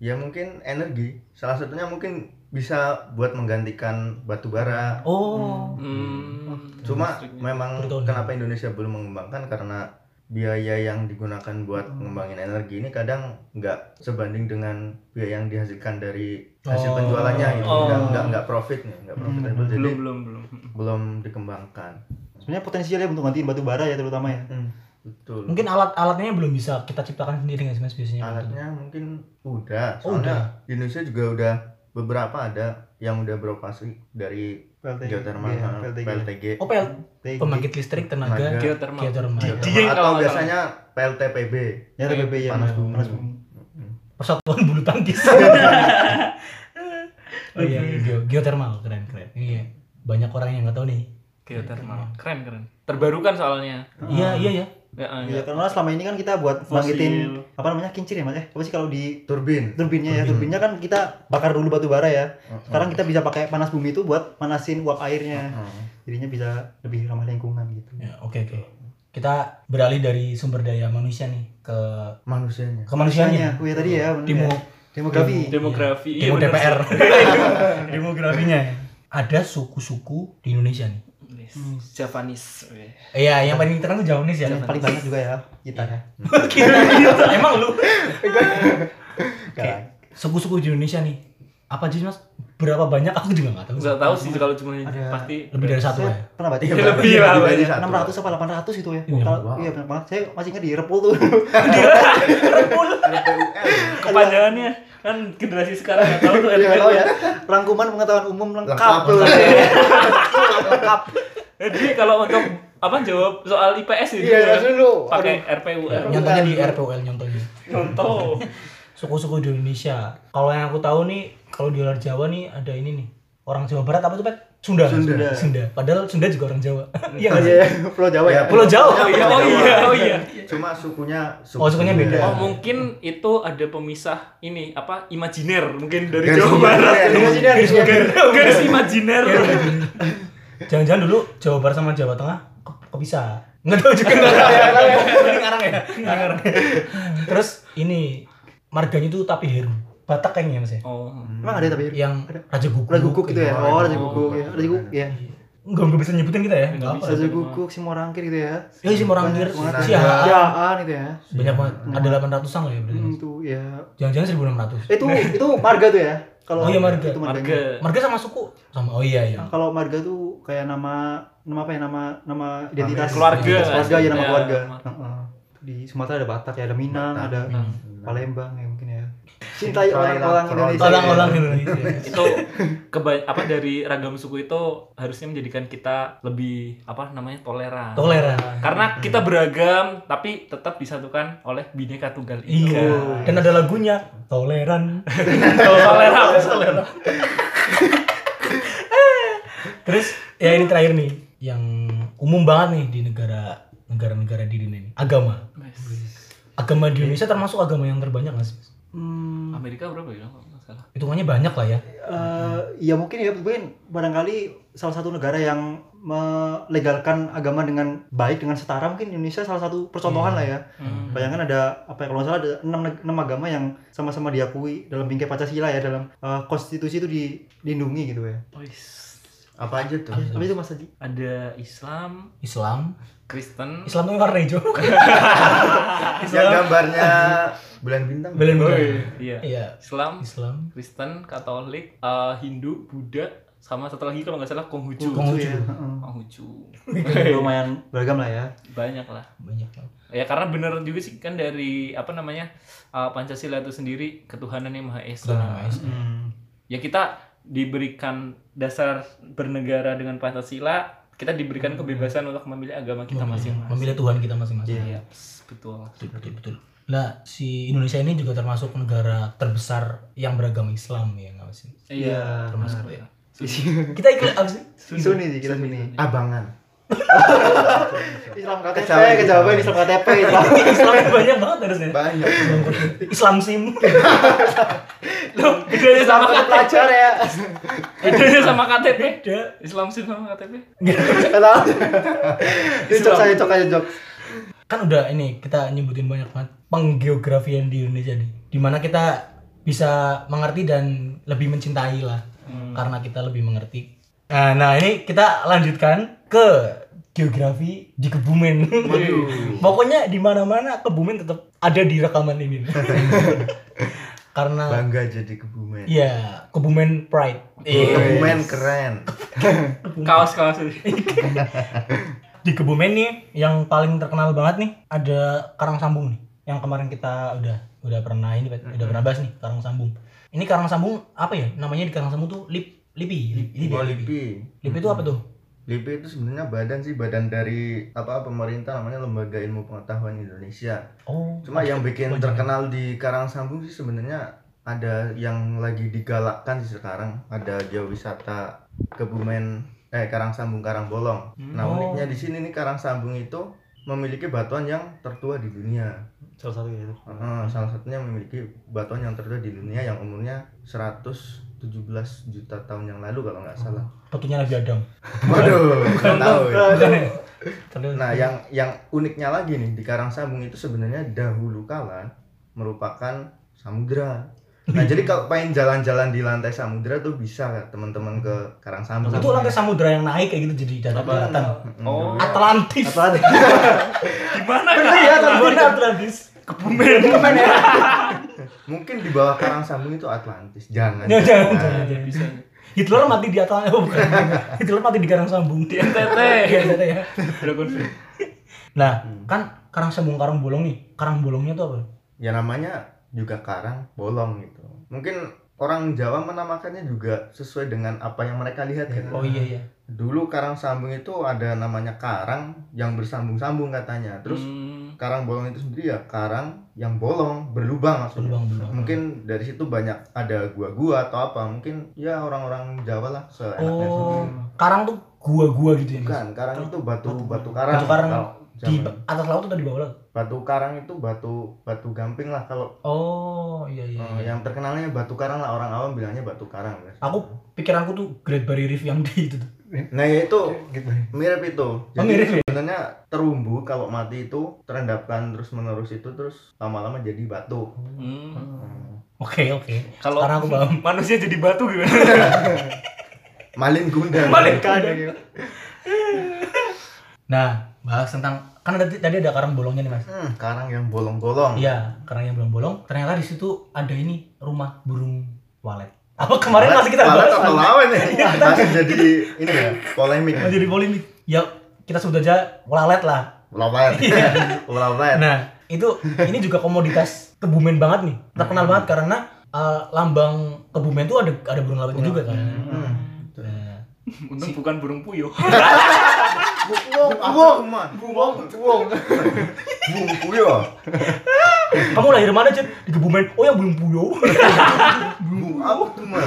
S2: Ya mungkin energi. Salah satunya mungkin bisa buat menggantikan batu bara.
S3: Oh,
S1: hmm.
S2: Cuma
S1: Listriknya.
S2: memang
S3: Betul.
S2: kenapa Indonesia belum mengembangkan karena biaya yang digunakan buat mengembangin energi ini kadang nggak sebanding dengan biaya yang dihasilkan dari hasil
S3: Oh.
S2: penjualannya gitu. Nggak,
S1: Oh. Hmm.
S2: nggak, nggak profit nih, nggak profitable. Jadi
S1: belum
S2: belum.
S1: belum belum
S2: dikembangkan.
S4: Sebenarnya potensialnya untuk gantiin batu bara ya terutama ya.
S2: Hmm, betul.
S3: mungkin alat-alatnya belum bisa kita ciptakan sendiri nggak sih mas biasanya?
S2: alatnya mungkin udah
S3: Oh, udah.
S2: soalnya di Indonesia juga udah beberapa ada yang udah beroperasi dari
S4: PLTG.
S2: geotermal
S4: Iya,
S2: uh,
S4: PLTG.
S2: PLTG
S3: Oh, PL,
S4: PLTG.
S3: pembangkit listrik tenaga
S2: Tenaga.
S1: geotermal
S3: geotermal.
S1: Di-
S2: Geotermal.
S1: Dieng kalau
S2: atau
S1: nggak
S2: biasanya PLTPB
S4: Ya TBB ya.
S2: Panas bumi.
S4: Panas bumi.
S3: Persatuan bulu tangkis. iya. oh iya, iya, geo- geotermal keren keren. Iya, banyak orang yang nggak tahu nih.
S1: geotermal keren keren terbarukan soalnya
S3: Iya iya ya.
S1: ya,
S4: Iya, karena selama ini kan kita buat
S1: Fosil.
S4: bangkitin apa namanya kincir ya Mas ya. Apa sih kalau di
S2: turbin
S4: turbinnya ya turbinnya kan kita bakar dulu batu bara ya sekarang kita bisa pakai panas bumi itu buat panasin uap airnya
S2: Heeh.
S4: jadinya bisa lebih ramah lingkungan gitu
S3: Ya, Oke oke. Kita beralih dari sumber daya manusia nih ke
S2: manusianya
S3: kemanusiaannya.
S4: oh ya tadi ya bener
S3: Demo
S4: ya. demografi
S1: demografi Iya,
S3: demo
S1: bener
S3: DPR.
S1: sih.
S3: iya, Demografinya. Ada suku-suku di Indonesia nih.
S1: Yes. Japanese Oke.
S3: Iya, yang paling terkenal tuh Javanese ya.
S4: yang paling banyak juga ya kita ya
S1: gitu.
S3: Emang lu
S4: Sekarang.
S3: suku-suku di Indonesia nih. Apa aja sih, Mas? Berapa banyak aku juga nggak tahu.
S1: nggak tahu sih kalau cuma
S4: Ada-
S1: pasti
S3: Lebih dari satu
S4: saya
S3: ya.
S4: pernah baca
S1: Ya, lebih
S4: iya,
S1: lah,
S2: Dibagi
S1: banyak.
S2: Iya, satu.
S4: 600 apa 800 itu ya
S3: Iya.
S4: Kalau-
S2: Wow.
S4: iya benar banget saya masih ingat di Repul tuh
S2: RPUL
S1: kepanjangannya kan generasi sekarang nggak tahu tuh
S4: Iya,
S1: LPR.
S4: tahu ya rangkuman pengetahuan umum
S2: Lengkap.
S4: lengkap tuh lengkap
S1: jadi Eh, kalau untuk apa jawab soal IPS itu
S4: Iya, jelas dulu.
S1: pakai RPUR
S3: Nyontohnya di RPUL nyontohnya.
S1: contoh
S3: Suku-suku di Indonesia. Kalau yang aku tahu nih, kalau di luar Jawa nih ada ini nih. Orang Jawa Barat apa tuh, Pak? Sunda.
S2: Sunda.
S3: Sunda. Padahal Sunda juga orang Jawa. Iya nggak sih?
S4: Iya, Pulau Jawa ya
S3: Pulau Jawa.
S1: oh iya oh iya oh iya
S2: cuma sukunya suku Iya.
S3: Oh, sukunya beda.
S2: Ya.
S1: Oh mungkin itu ada pemisah ini apa imajiner mungkin dari
S2: Garis
S1: Jawa Barat.
S2: imajiner.
S1: Garis imajiner. Garis imajiner.
S3: Iya. Jangan-jangan dulu Jawa Barat sama Jawa Tengah ke- kepisah. Nggak tahu juga. Nggak tahu ya. Ini ngarang ya. Ngarang. Terus ini marganya itu tapi Heru. Batak kayaknya mas ya.
S1: Oh.
S4: Emang ada tapi
S3: Yang Raja Iya, Guguk.
S4: Raja Guguk gitu ya. Oh, Raja
S1: Oh,
S4: Guguk ya. Raja Guguk ya.
S3: Enggak enggak bisa nyebutin kita ya.
S1: Nggak
S3: Enggak apa.
S1: bisa.
S4: Raja Guguk, si Morangkir gitu ya.
S3: Ya si Morangkir,
S2: Banyak.
S3: si
S2: Banyak.
S3: Haan.
S4: Jaan gitu ya.
S3: Banyak banget. Ada 800-an loh ya berarti.
S4: Hmm,
S3: Mas.
S4: Itu ya.
S3: Jangan-jangan 1600.
S4: Itu itu marga tuh ya. Kalau
S3: Oh, iya, marga.
S4: itu marganya.
S1: Marga.
S3: Marga sama suku sama oh iya iya.
S4: Kalau marga tuh kayak nama nama apa ya nama nama identitas
S1: Keluarga.
S4: Identitas keluarga ya nama
S1: Ya,
S4: keluarga.
S1: mar-
S4: Heeh. Di Sumatera ada Batak ya, ada Minang,
S2: Batak.
S4: ada
S3: Hmm.
S4: Palembang ya mungkin ya. Cintai
S2: Cintai
S4: orang-orang
S2: lah,
S4: Indonesia.
S3: Orang-orang Indonesia.
S1: itu keba- apa dari ragam suku itu harusnya menjadikan kita lebih apa namanya toleran.
S3: Toleran.
S1: Karena kita beragam tapi tetap disatukan oleh bineka tunggal ika.
S3: Iya. Dan ada lagunya Toleran.
S1: Toleran.
S3: Terus ya ini terakhir nih yang umum banget nih di negara negara-negara di dunia ini agama
S1: Mas,
S3: agama di Indonesia termasuk agama yang terbanyak nggak sih Mas?
S4: Hmm,
S1: Amerika berapa ya? Kalau nggak salah.
S3: hitungannya banyak lah ya
S4: eh, ya mungkin ya mungkin barangkali salah satu negara yang melegalkan agama dengan baik dengan setara mungkin Indonesia salah satu percontohan lah ya.
S1: Hmm.
S4: Bayangkan ada apa ya kalau nggak salah ada enam neg- enam agama yang sama-sama diakui dalam bingkai Pancasila ya dalam eh, konstitusi itu di- dilindungi gitu ya.
S1: Wis.
S2: apa aja tuh
S3: Apa?
S4: Tapi itu Mas Haji.
S1: Ada Islam,
S3: Islam
S1: Kristen,
S3: Islam tuh yang warna hijau
S2: yang Ya, gambarnya bulan bintang
S3: belum
S1: Woi, iya.
S3: iya
S1: Islam,
S3: Islam
S1: Kristen, Katolik, eh, Hindu, Buddha, sama satu lagi kalau nggak salah Konghucu.
S3: Kong- Konghucu. Iya.
S4: Konghucu ya. heeh.
S1: Konghucu.
S4: Lumayan beragam lah ya.
S1: Banyak lah.
S3: banyak lah
S1: Ya karena bener juga sih kan dari apa namanya eh, Pancasila itu sendiri ketuhanan yang maha esa.
S3: Ketuhanan Yang Maha Esa.
S4: Hmm.
S1: Ya kita diberikan dasar bernegara dengan Pancasila, kita diberikan kebebasan untuk memilih agama kita masing-masing.
S3: Hmm. memilih Tuhan kita masing-masing
S1: Iya, pss, betul.
S3: betul betul betul nah si Indonesia ini juga termasuk negara terbesar yang beragama Islam ya nggak sih
S1: Iya.
S3: termasuk ya
S1: Sunni.
S3: kita ikut apa sih
S4: Sunni sih kita Sunni.
S2: abangan
S4: Islam KTP,
S2: Kejawen,
S4: kejawen
S2: kejawen.
S4: Islam KTP, Islam.
S3: Islamnya banyak banget harusnya
S2: banyak
S3: Islam sim
S1: Loh, bedanya sama
S4: Islam pelajar ya.
S1: bedanya sama KTP.
S3: beda
S1: Islam sih sama KTP.
S3: Gitu.
S4: Nggak tahu. Ini jok saya jok aja jok.
S3: kan udah ini kita nyebutin banyak banget penggeografian di Indonesia nih dimana kita bisa mengerti dan lebih mencintai lah karena kita lebih mengerti nah, nah ini kita lanjutkan ke geografi di Kebumen pokoknya di mana mana Kebumen tetap ada di rekaman ini karena
S2: bangga jadi kebumen
S3: ya Kebumen Pride Eh,
S2: kebumen keren
S1: Kaos-kaos ini.
S3: di Kebumen nih yang paling terkenal banget nih ada Karang Sambung nih yang kemarin kita udah udah pernah ini Bet. udah pernah bahas nih Karang Sambung ini Karang Sambung apa ya namanya di Karang Sambung tuh lip lipi lip, lip,
S2: Oh,
S3: ya?
S2: lipi
S3: Lip itu apa tuh
S2: lipi itu sebenarnya badan sih badan dari apa pemerintah namanya lembaga ilmu pengetahuan Indonesia
S3: oh
S2: cuma yang bikin
S3: Oh,
S2: terkenal di Karang Sambung sih sebenarnya ada yang lagi digalakkan sih sekarang ada geowisata kebumen eh Karang Sambung Karang Bolong nah
S3: Oh.
S2: uniknya di sini nih Karang Sambung itu memiliki batuan yang tertua di dunia
S4: Salah satu ya.
S2: Heeh, salah satunya memiliki batuan yang tertua di dunia yang umurnya 117 juta tahun yang lalu kalau nggak salah.
S3: fotonya Nabi Adam
S2: Waduh, nggak tahu. ya.
S3: Terus-
S2: Nah, yang yang uniknya lagi nih di Karang Sambung itu sebenarnya dahulu kala merupakan samudra. Nah, jadi kalau pengen jalan-jalan di lantai samudra tuh bisa teman-teman ke Karang Sambung. ya.
S3: itu lantai samudra yang naik kayak gitu jadi datang datang
S1: Oh,
S3: Atlantis
S4: Apalagi.
S1: gimana
S4: Bener ya, tapi
S3: Mana Atlantis
S1: Kebumen.
S2: Mungkin di bawah Karang Sambung itu Atlantis. Jangan.
S3: Ya, jangan,
S2: Nah,
S3: jangan,
S1: Ya,
S3: jangan.
S1: bisa.
S3: Hitler mati di Atlantis oh, bukan Hitler mati di Karang Sambung
S1: Di NTT.
S3: Di NTT ya
S1: Dragon Fruit.
S3: Nah, kan karang sambung karang bolong nih. Karang bolongnya tuh apa?
S2: ya namanya juga karang bolong gitu mungkin orang Jawa menamakannya juga sesuai dengan apa yang mereka lihat kan
S3: Oh iya iya.
S2: dulu karang sambung itu ada namanya karang yang bersambung-sambung katanya terus
S1: Hmm,
S2: karang bolong itu sendiri ya karang yang bolong berlubang maksudnya
S3: Berlubang berlubang.
S2: mungkin dari situ banyak ada gua-gua atau apa mungkin ya orang-orang Jawa lah seenaknya
S3: Oh,
S2: sendiri.
S3: karang tuh gua-gua gitu ya. Mas?
S2: bukan karang itu batu batu karang,
S3: Batu karang.
S2: Kalau
S3: Di
S2: Zaman.
S3: atas laut atau di bawah laut?
S2: Batu karang itu batu batu gamping lah kalau
S3: Oh, iya iya.
S2: eh,
S3: iya.
S2: yang terkenalnya batu karang lah orang awam bilangnya batu karang.
S3: Aku pikiranku tuh Great Barrier Reef yang di itu tuh.
S2: Nah ya itu
S4: gitu.
S2: mirip itu. Jadi
S3: mirip ya?
S2: sebenarnya terumbu kalau mati itu terendapkan terus menerus itu terus lama-lama jadi batu.
S1: Hmm.
S3: Oke, oke.
S1: Kalau
S3: Sekarang aku paham.
S1: manusia jadi batu
S4: Iya,
S1: gimana?
S2: Malin gundang.
S1: Malin
S3: Nah, bahas tentang kan ada, tadi ada karang bolongnya nih, Mas.
S2: Hmm, karang yang bolong-bolong.
S3: Iya, karang yang bolong-bolong. Ternyata di situ ada ini rumah burung walet. Apa kemarin masih kita
S2: Walet
S3: bahas?
S2: atau
S3: Mas?
S2: lawan ya? Masih jadi ini ya, polemik. ya.
S3: Jadi polemik. Ya, kita sebut aja walet lah.
S2: Lawan. Lawan.
S3: Iya. Nah, itu ini juga komoditas kebumen banget nih. Terkenal banget karena eh, lambang kebumen tuh ada ada burung lawetnya juga kan.
S2: Hmm.
S3: Nah,
S1: Untung bukan burung puyuh.
S2: Wong, wong, wong, wong. Wong kuyo.
S3: Kamu lahir mana, Cep? Di kebumen. Oh, yang burung puyuh.
S2: Wong apa tuh, Man?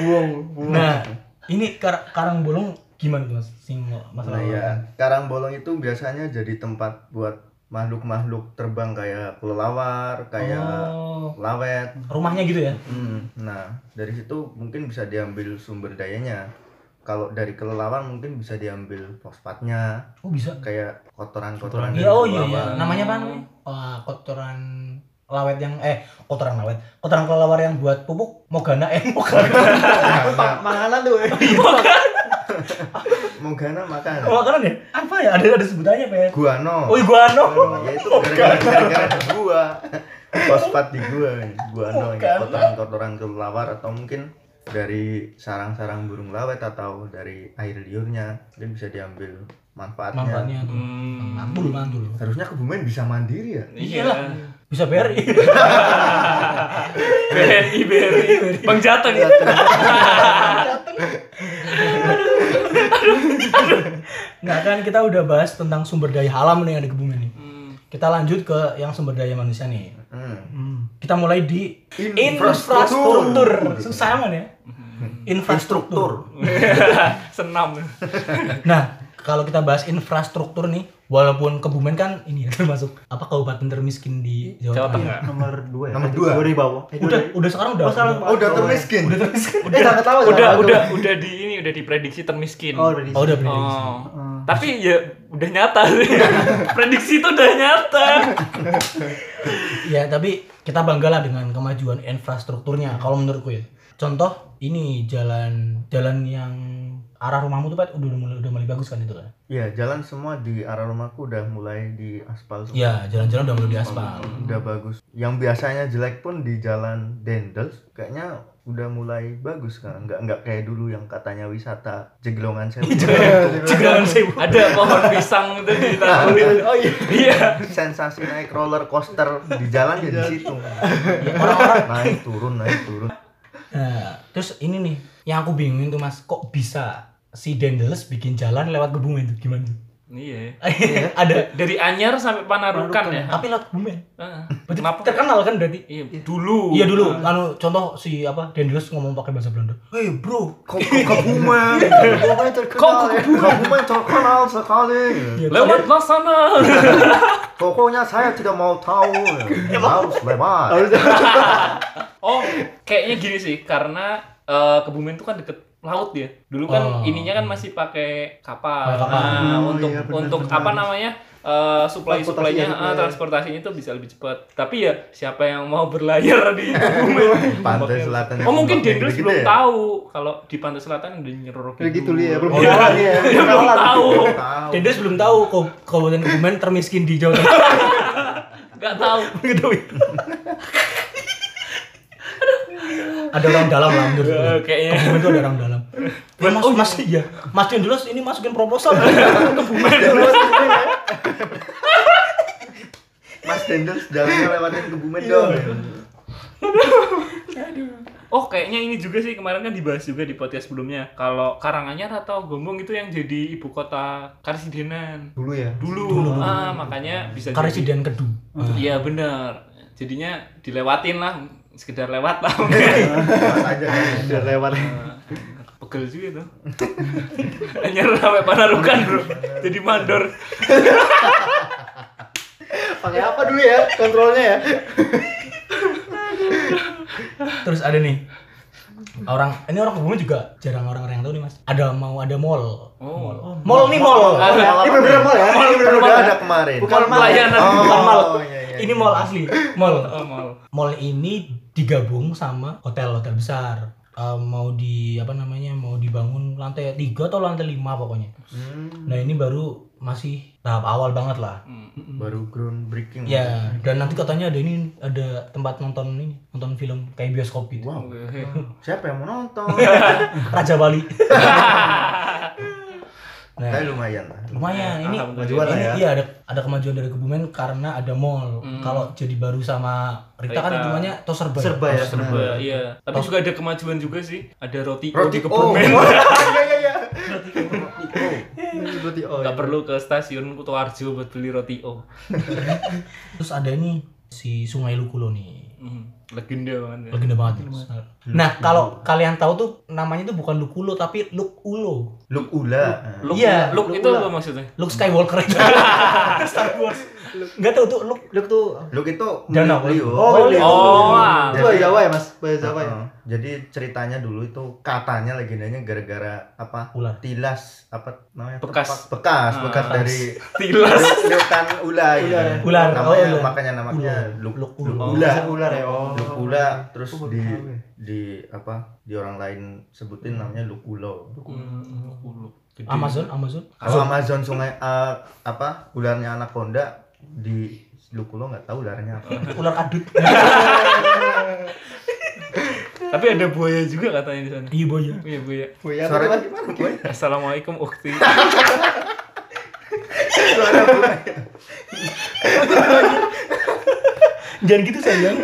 S4: Buang. buang.
S3: nah, ini kar- karang bolong gimana tuh, Mas? Sing masalah.
S2: Nah, ya, karang bolong itu biasanya jadi tempat buat makhluk-makhluk terbang kayak kelelawar, kayak
S3: Oh,
S2: lawet.
S3: rumahnya gitu ya.
S2: Hmm, nah dari situ mungkin bisa diambil sumber dayanya. Kalau dari kelelawar mungkin bisa diambil fosfatnya,
S3: Oh, bisa.
S2: kayak kotoran-kotoran dari
S3: Iya, oh iya, iya.
S2: kelelawar.
S3: Namanya apa namanya? Wah, kotoran lawet yang eh kotoran lawet kotoran kelelawar yang buat pupuk mogana eh mogana
S2: Nah,
S4: Makanan tuh. Iya.
S2: Mogana makan.
S3: mogana ya apa ya ada ada sebutannya apa ya
S2: Guano.
S3: oh guano
S2: Ya itu gara-gara gara-gara ada gua. Fosfat di gua, guano ya,
S3: Mogana.
S2: kotoran-kotoran kelelawar atau mungkin dari sarang-sarang burung lawet atau dari air liurnya dia bisa diambil manfaatnya.
S3: manfaatnya tuh
S1: Hmm.
S3: mantul mantul
S2: Harusnya kebumen bisa mandiri ya.
S1: Iya.
S3: bisa BRI
S1: BRI, BRI. Bang Jateng.
S3: nggak kan kita udah bahas tentang sumber daya alam nih yang ada kebumen nih
S1: Hmm.
S3: kita lanjut ke yang sumber daya manusia nih
S2: Hmm.
S3: kita mulai di
S2: Infrastruktur.
S3: infrastruktur susah aman ya
S1: Hmm.
S3: infrastruktur
S1: Senam.
S3: nah kalau kita bahas infrastruktur nih walaupun kebumen kan ini ya, termasuk apa kabupaten termiskin di Jawa,
S1: Jawa
S3: Tengah
S1: Tengah.
S4: Nomor dua ya.
S2: Nomor dua.
S4: Dua dari bawah. Eh, dua
S3: udah
S4: dari-
S3: udah sekarang udah
S4: Oh, sekarang
S2: Oh, udah termiskin.
S3: udah termiskin
S4: Eh, jangan ketawa. jangan
S1: Udah,
S4: ketawa.
S1: udah, udah di ini udah diprediksi termiskin.
S4: Oh, udah di
S3: oh udah
S4: sini.
S3: prediksi
S1: Oh.
S4: Hmm.
S1: Tapi ya udah nyata sih. Prediksi itu udah nyata.
S3: Ya, tapi kita banggalah dengan kemajuan infrastrukturnya kalau menurutku ya. Contoh ini jalan jalan yang arah rumahmu tuh Pat, udah udah mulai, udah mulai bagus kan itu kan.
S2: Ya, jalan semua di arah rumahku udah mulai di aspal semua.
S3: Ya, jalan-jalan udah mulai diaspal.
S2: Udah bagus. Yang biasanya jelek pun di jalan Dendels kayaknya udah mulai bagus kan. Enggak enggak kayak dulu yang katanya wisata jeglongan sewu.
S1: Iya.
S3: Jangan sibuk.
S1: Ada pohon pisang itu di
S4: Oh,
S1: tanah.
S4: iya. Oh, iya.
S1: Iya.
S2: Sensasi naik roller coaster di jalan ya di situ.
S3: Ya, orang-orang.
S2: naik turun naik turun.
S3: Nah, terus ini nih yang aku bingungin tuh Mas, kok bisa si Dendels bikin jalan lewat kebumen tuh gimana tuh?
S1: Iya.
S3: Ada
S1: Dari Anyar sampai Panarukan ya.
S3: tapi lewat kebumen.
S1: Heeh.
S3: Berarti
S1: Kenapa?
S3: terkenal kan berarti.
S1: Iya, dulu.
S3: Iya dulu, anu contoh si apa Dendels ngomong pakai bahasa Belanda. Hei bro,
S2: Kok kok kebumen? Kebumen terkenal.
S1: Kok
S2: ya? Kebumen terkenal sekali.
S1: Lewat
S4: Iya.
S1: lah sana.
S2: Pokoknya saya tidak mau tahu.
S1: Iya,
S2: Harus lewat.
S1: oh, kayaknya gini sih karena eh, Kebumen itu kan deket laut ya. Dulu kan
S3: Oh.
S1: ininya kan masih pakai kapal.
S3: Pakai kapal.
S1: Nah,
S4: Oh,
S1: untuk
S4: iya, benar,
S1: untuk
S4: benar.
S1: apa namanya? eh supply
S4: Transportasi ya,
S1: supply-nya
S4: supply.
S1: ah, transportasinya itu bisa lebih cepat. Tapi ya siapa yang mau berlayar di Kebumen?
S2: Pantai Selatan yang
S1: Oh, mungkin
S2: tempatnya
S1: Dendels
S2: gitu
S1: belum
S2: ya?
S1: tahu kalau di Pantai Selatan udah nyerorok
S4: Udah gitu Li, ya. Belum
S3: Oh, iya.
S4: jalan ya.
S1: Dia belum tahu.
S2: Tahu.
S3: Dendes belum tahu kau- kabupaten Kebumen termiskin di Jawa Tengah.
S1: Gak tahu.
S3: Gitu. ada orang dalam lah menurut gue.
S1: Eh, kayaknya.
S3: Kebumen itu ada orang dalam. Eh, mas, mas, iya. Mas Dendelos ini masukin proposal.
S2: Mas Dendels jalannya lewatin kebumen dong.
S1: Iya. Oh kayaknya ini juga sih kemarin kan dibahas juga di podcast sebelumnya kalau Karanganyar atau Gombong itu yang jadi ibu kota Karesidenan
S4: Dulu ya.
S1: dulu, ah makanya bisa jadi
S3: Karesiden Kedu.
S1: iya bener jadinya dilewatin lah sekedar lewat lah
S2: Lewat aja kan.
S4: Udah lewat.
S1: Pegel juga tuh. Anyar sampai panarukan, Bro. Jadi mandor.
S4: Pakai apa dulu ya kontrolnya ya?
S3: Terus ada nih orang ini orang kebumen juga jarang orang-orang yang tahu nih mas. Ada mau ada mall.
S1: Oh.
S3: Mall. Mall nih mall.
S1: Mall.
S4: Ini bener-bener mall ya?
S2: Ini bener
S1: Mall.
S2: ada kemarin.
S1: Bukan pelayanan.
S2: Oh,
S3: Bukan mall.
S2: iya, iya,
S3: Ini
S2: iya.
S3: mall asli. Mall.
S1: Oh, mal.
S3: Mall ini digabung sama hotel-hotel besar. Eh, mau di apa namanya mau dibangun lantai tiga atau lantai lima pokoknya.
S2: Hmm,
S3: Nah ini baru masih tahap awal banget lah.
S1: Hmm.
S2: baru groundbreaking.
S3: Ya dan nanti katanya ada ini ada tempat nonton ini nonton film kayak bioskop gitu.
S2: Wow.
S1: Oke.
S2: Siapa yang mau nonton?
S3: Raja Bali. nah,
S2: Kayak Eh, lumayan lah.
S3: lumayan ini
S1: Alhamdulillah.
S2: Jual lah
S3: ini
S2: ya.
S3: iya ada ada kemajuan dari Kebumen karena ada mall.
S1: Hmm.
S3: Kalau jadi baru sama Rita, kan
S1: Rita.
S3: hitungannya tos serba.
S2: Serba ya.
S3: Nah,
S1: Serba, iya. Tapi juga ada kemajuan juga sih. Ada roti
S2: Roti
S1: di
S2: oh.
S1: Kebumen.
S2: Iya iya iya. Roti
S4: iya.
S2: oh.
S1: Gak perlu ke stasiun Kutoarjo buat beli roti O.
S3: Nah, Terus ada nih si Sungai Lukulo nih.
S1: Hmm. Legenda banget. ya.
S3: Legenda banget. Nah, kalau kalian tahu tuh namanya tuh bukan Lukulo tapi Lukulo.
S2: Luk ula.
S1: Look,
S3: Iya,
S1: look
S4: look
S1: itu apa
S4: ulang.
S1: maksudnya?
S3: Luke Skywalker itu. Star Wars. Enggak tahu tuh Luke
S4: Lu tuh
S2: Luk itu
S3: Danau.
S2: milik Leo.
S4: Oh, milik Leo.
S1: Oh, ah.
S4: itu bahasa Jawa ya mas? Bahasa Jawa ya?
S2: Heeh. Jadi ceritanya dulu itu katanya legendanya gara-gara apa?
S3: ular.
S2: Tilas apa namanya?
S1: Bekas.
S2: Tepak- Bekas,
S1: Ah.
S2: bekas dari
S1: Tilas.
S2: liutan ular
S4: Ular.
S3: Ular.
S2: Namanya
S3: Oh, ular.
S2: makanya namanya
S3: Ular.
S2: luk
S3: Luk-
S2: luk
S3: ular.
S2: ula.
S4: Bahasa ular ya? Oh.
S2: Luk ula terus
S4: Aku baru
S2: di
S4: tahu ya.
S2: di apa? Di orang lain sebutin namanya luk ulo.
S1: Hmm. Gede.
S3: Amazon, Amazon.
S2: Kalau Amazon sungai eh, apa? Ularnya anaconda di luk ulo nggak tahu ularnya apa.
S3: Ular kadut.
S1: Tapi ada buaya juga katanya di sana.
S3: Iya boy.
S1: Iya buaya.
S4: Buaya Oh, apa
S2: Suaranya
S4: Mas?
S2: gimana? Boy?
S1: Assalamualaikum ukti.
S2: Suara buaya.
S3: Jangan gitu sayang.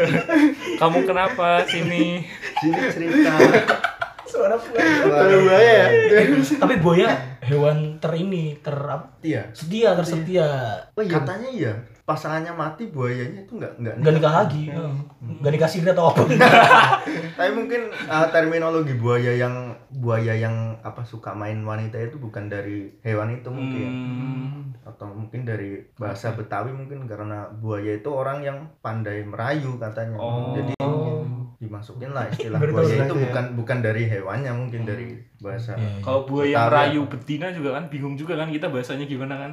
S1: Kamu kenapa sini?
S2: Sini cerita.
S3: Suara buaya.
S4: Buaya, buaya
S2: eh.
S4: ya?
S3: Tapi buaya hewan ter ini ter apa?
S2: Iya.
S3: setia tersetia
S4: Oh iya.
S2: Katanya iya, pasangannya mati buayanya itu nggak nggak
S3: nggak nikah
S2: nikah.
S3: lagi
S2: Hmm.
S3: nggak nikah siri atau apa
S2: Iya. Tapi mungkin uh, terminologi buaya yang buaya yang apa suka main wanita itu bukan dari hewan itu mungkin
S1: Hmm.
S2: atau mungkin dari bahasa Betawi mungkin karena buaya itu orang yang pandai merayu katanya.
S1: Oh.
S2: Jadi dimasukin lah istilah
S3: Baru tahu
S2: buaya itu ya.
S4: sebenarnya.
S2: bukan bukan dari hewannya mungkin dari bahasa.
S3: Iya, iya.
S1: Kalau buaya
S2: Betawi
S1: merayu
S2: apa?
S1: betina juga kan bingung juga kan kita bahasanya gimana kan?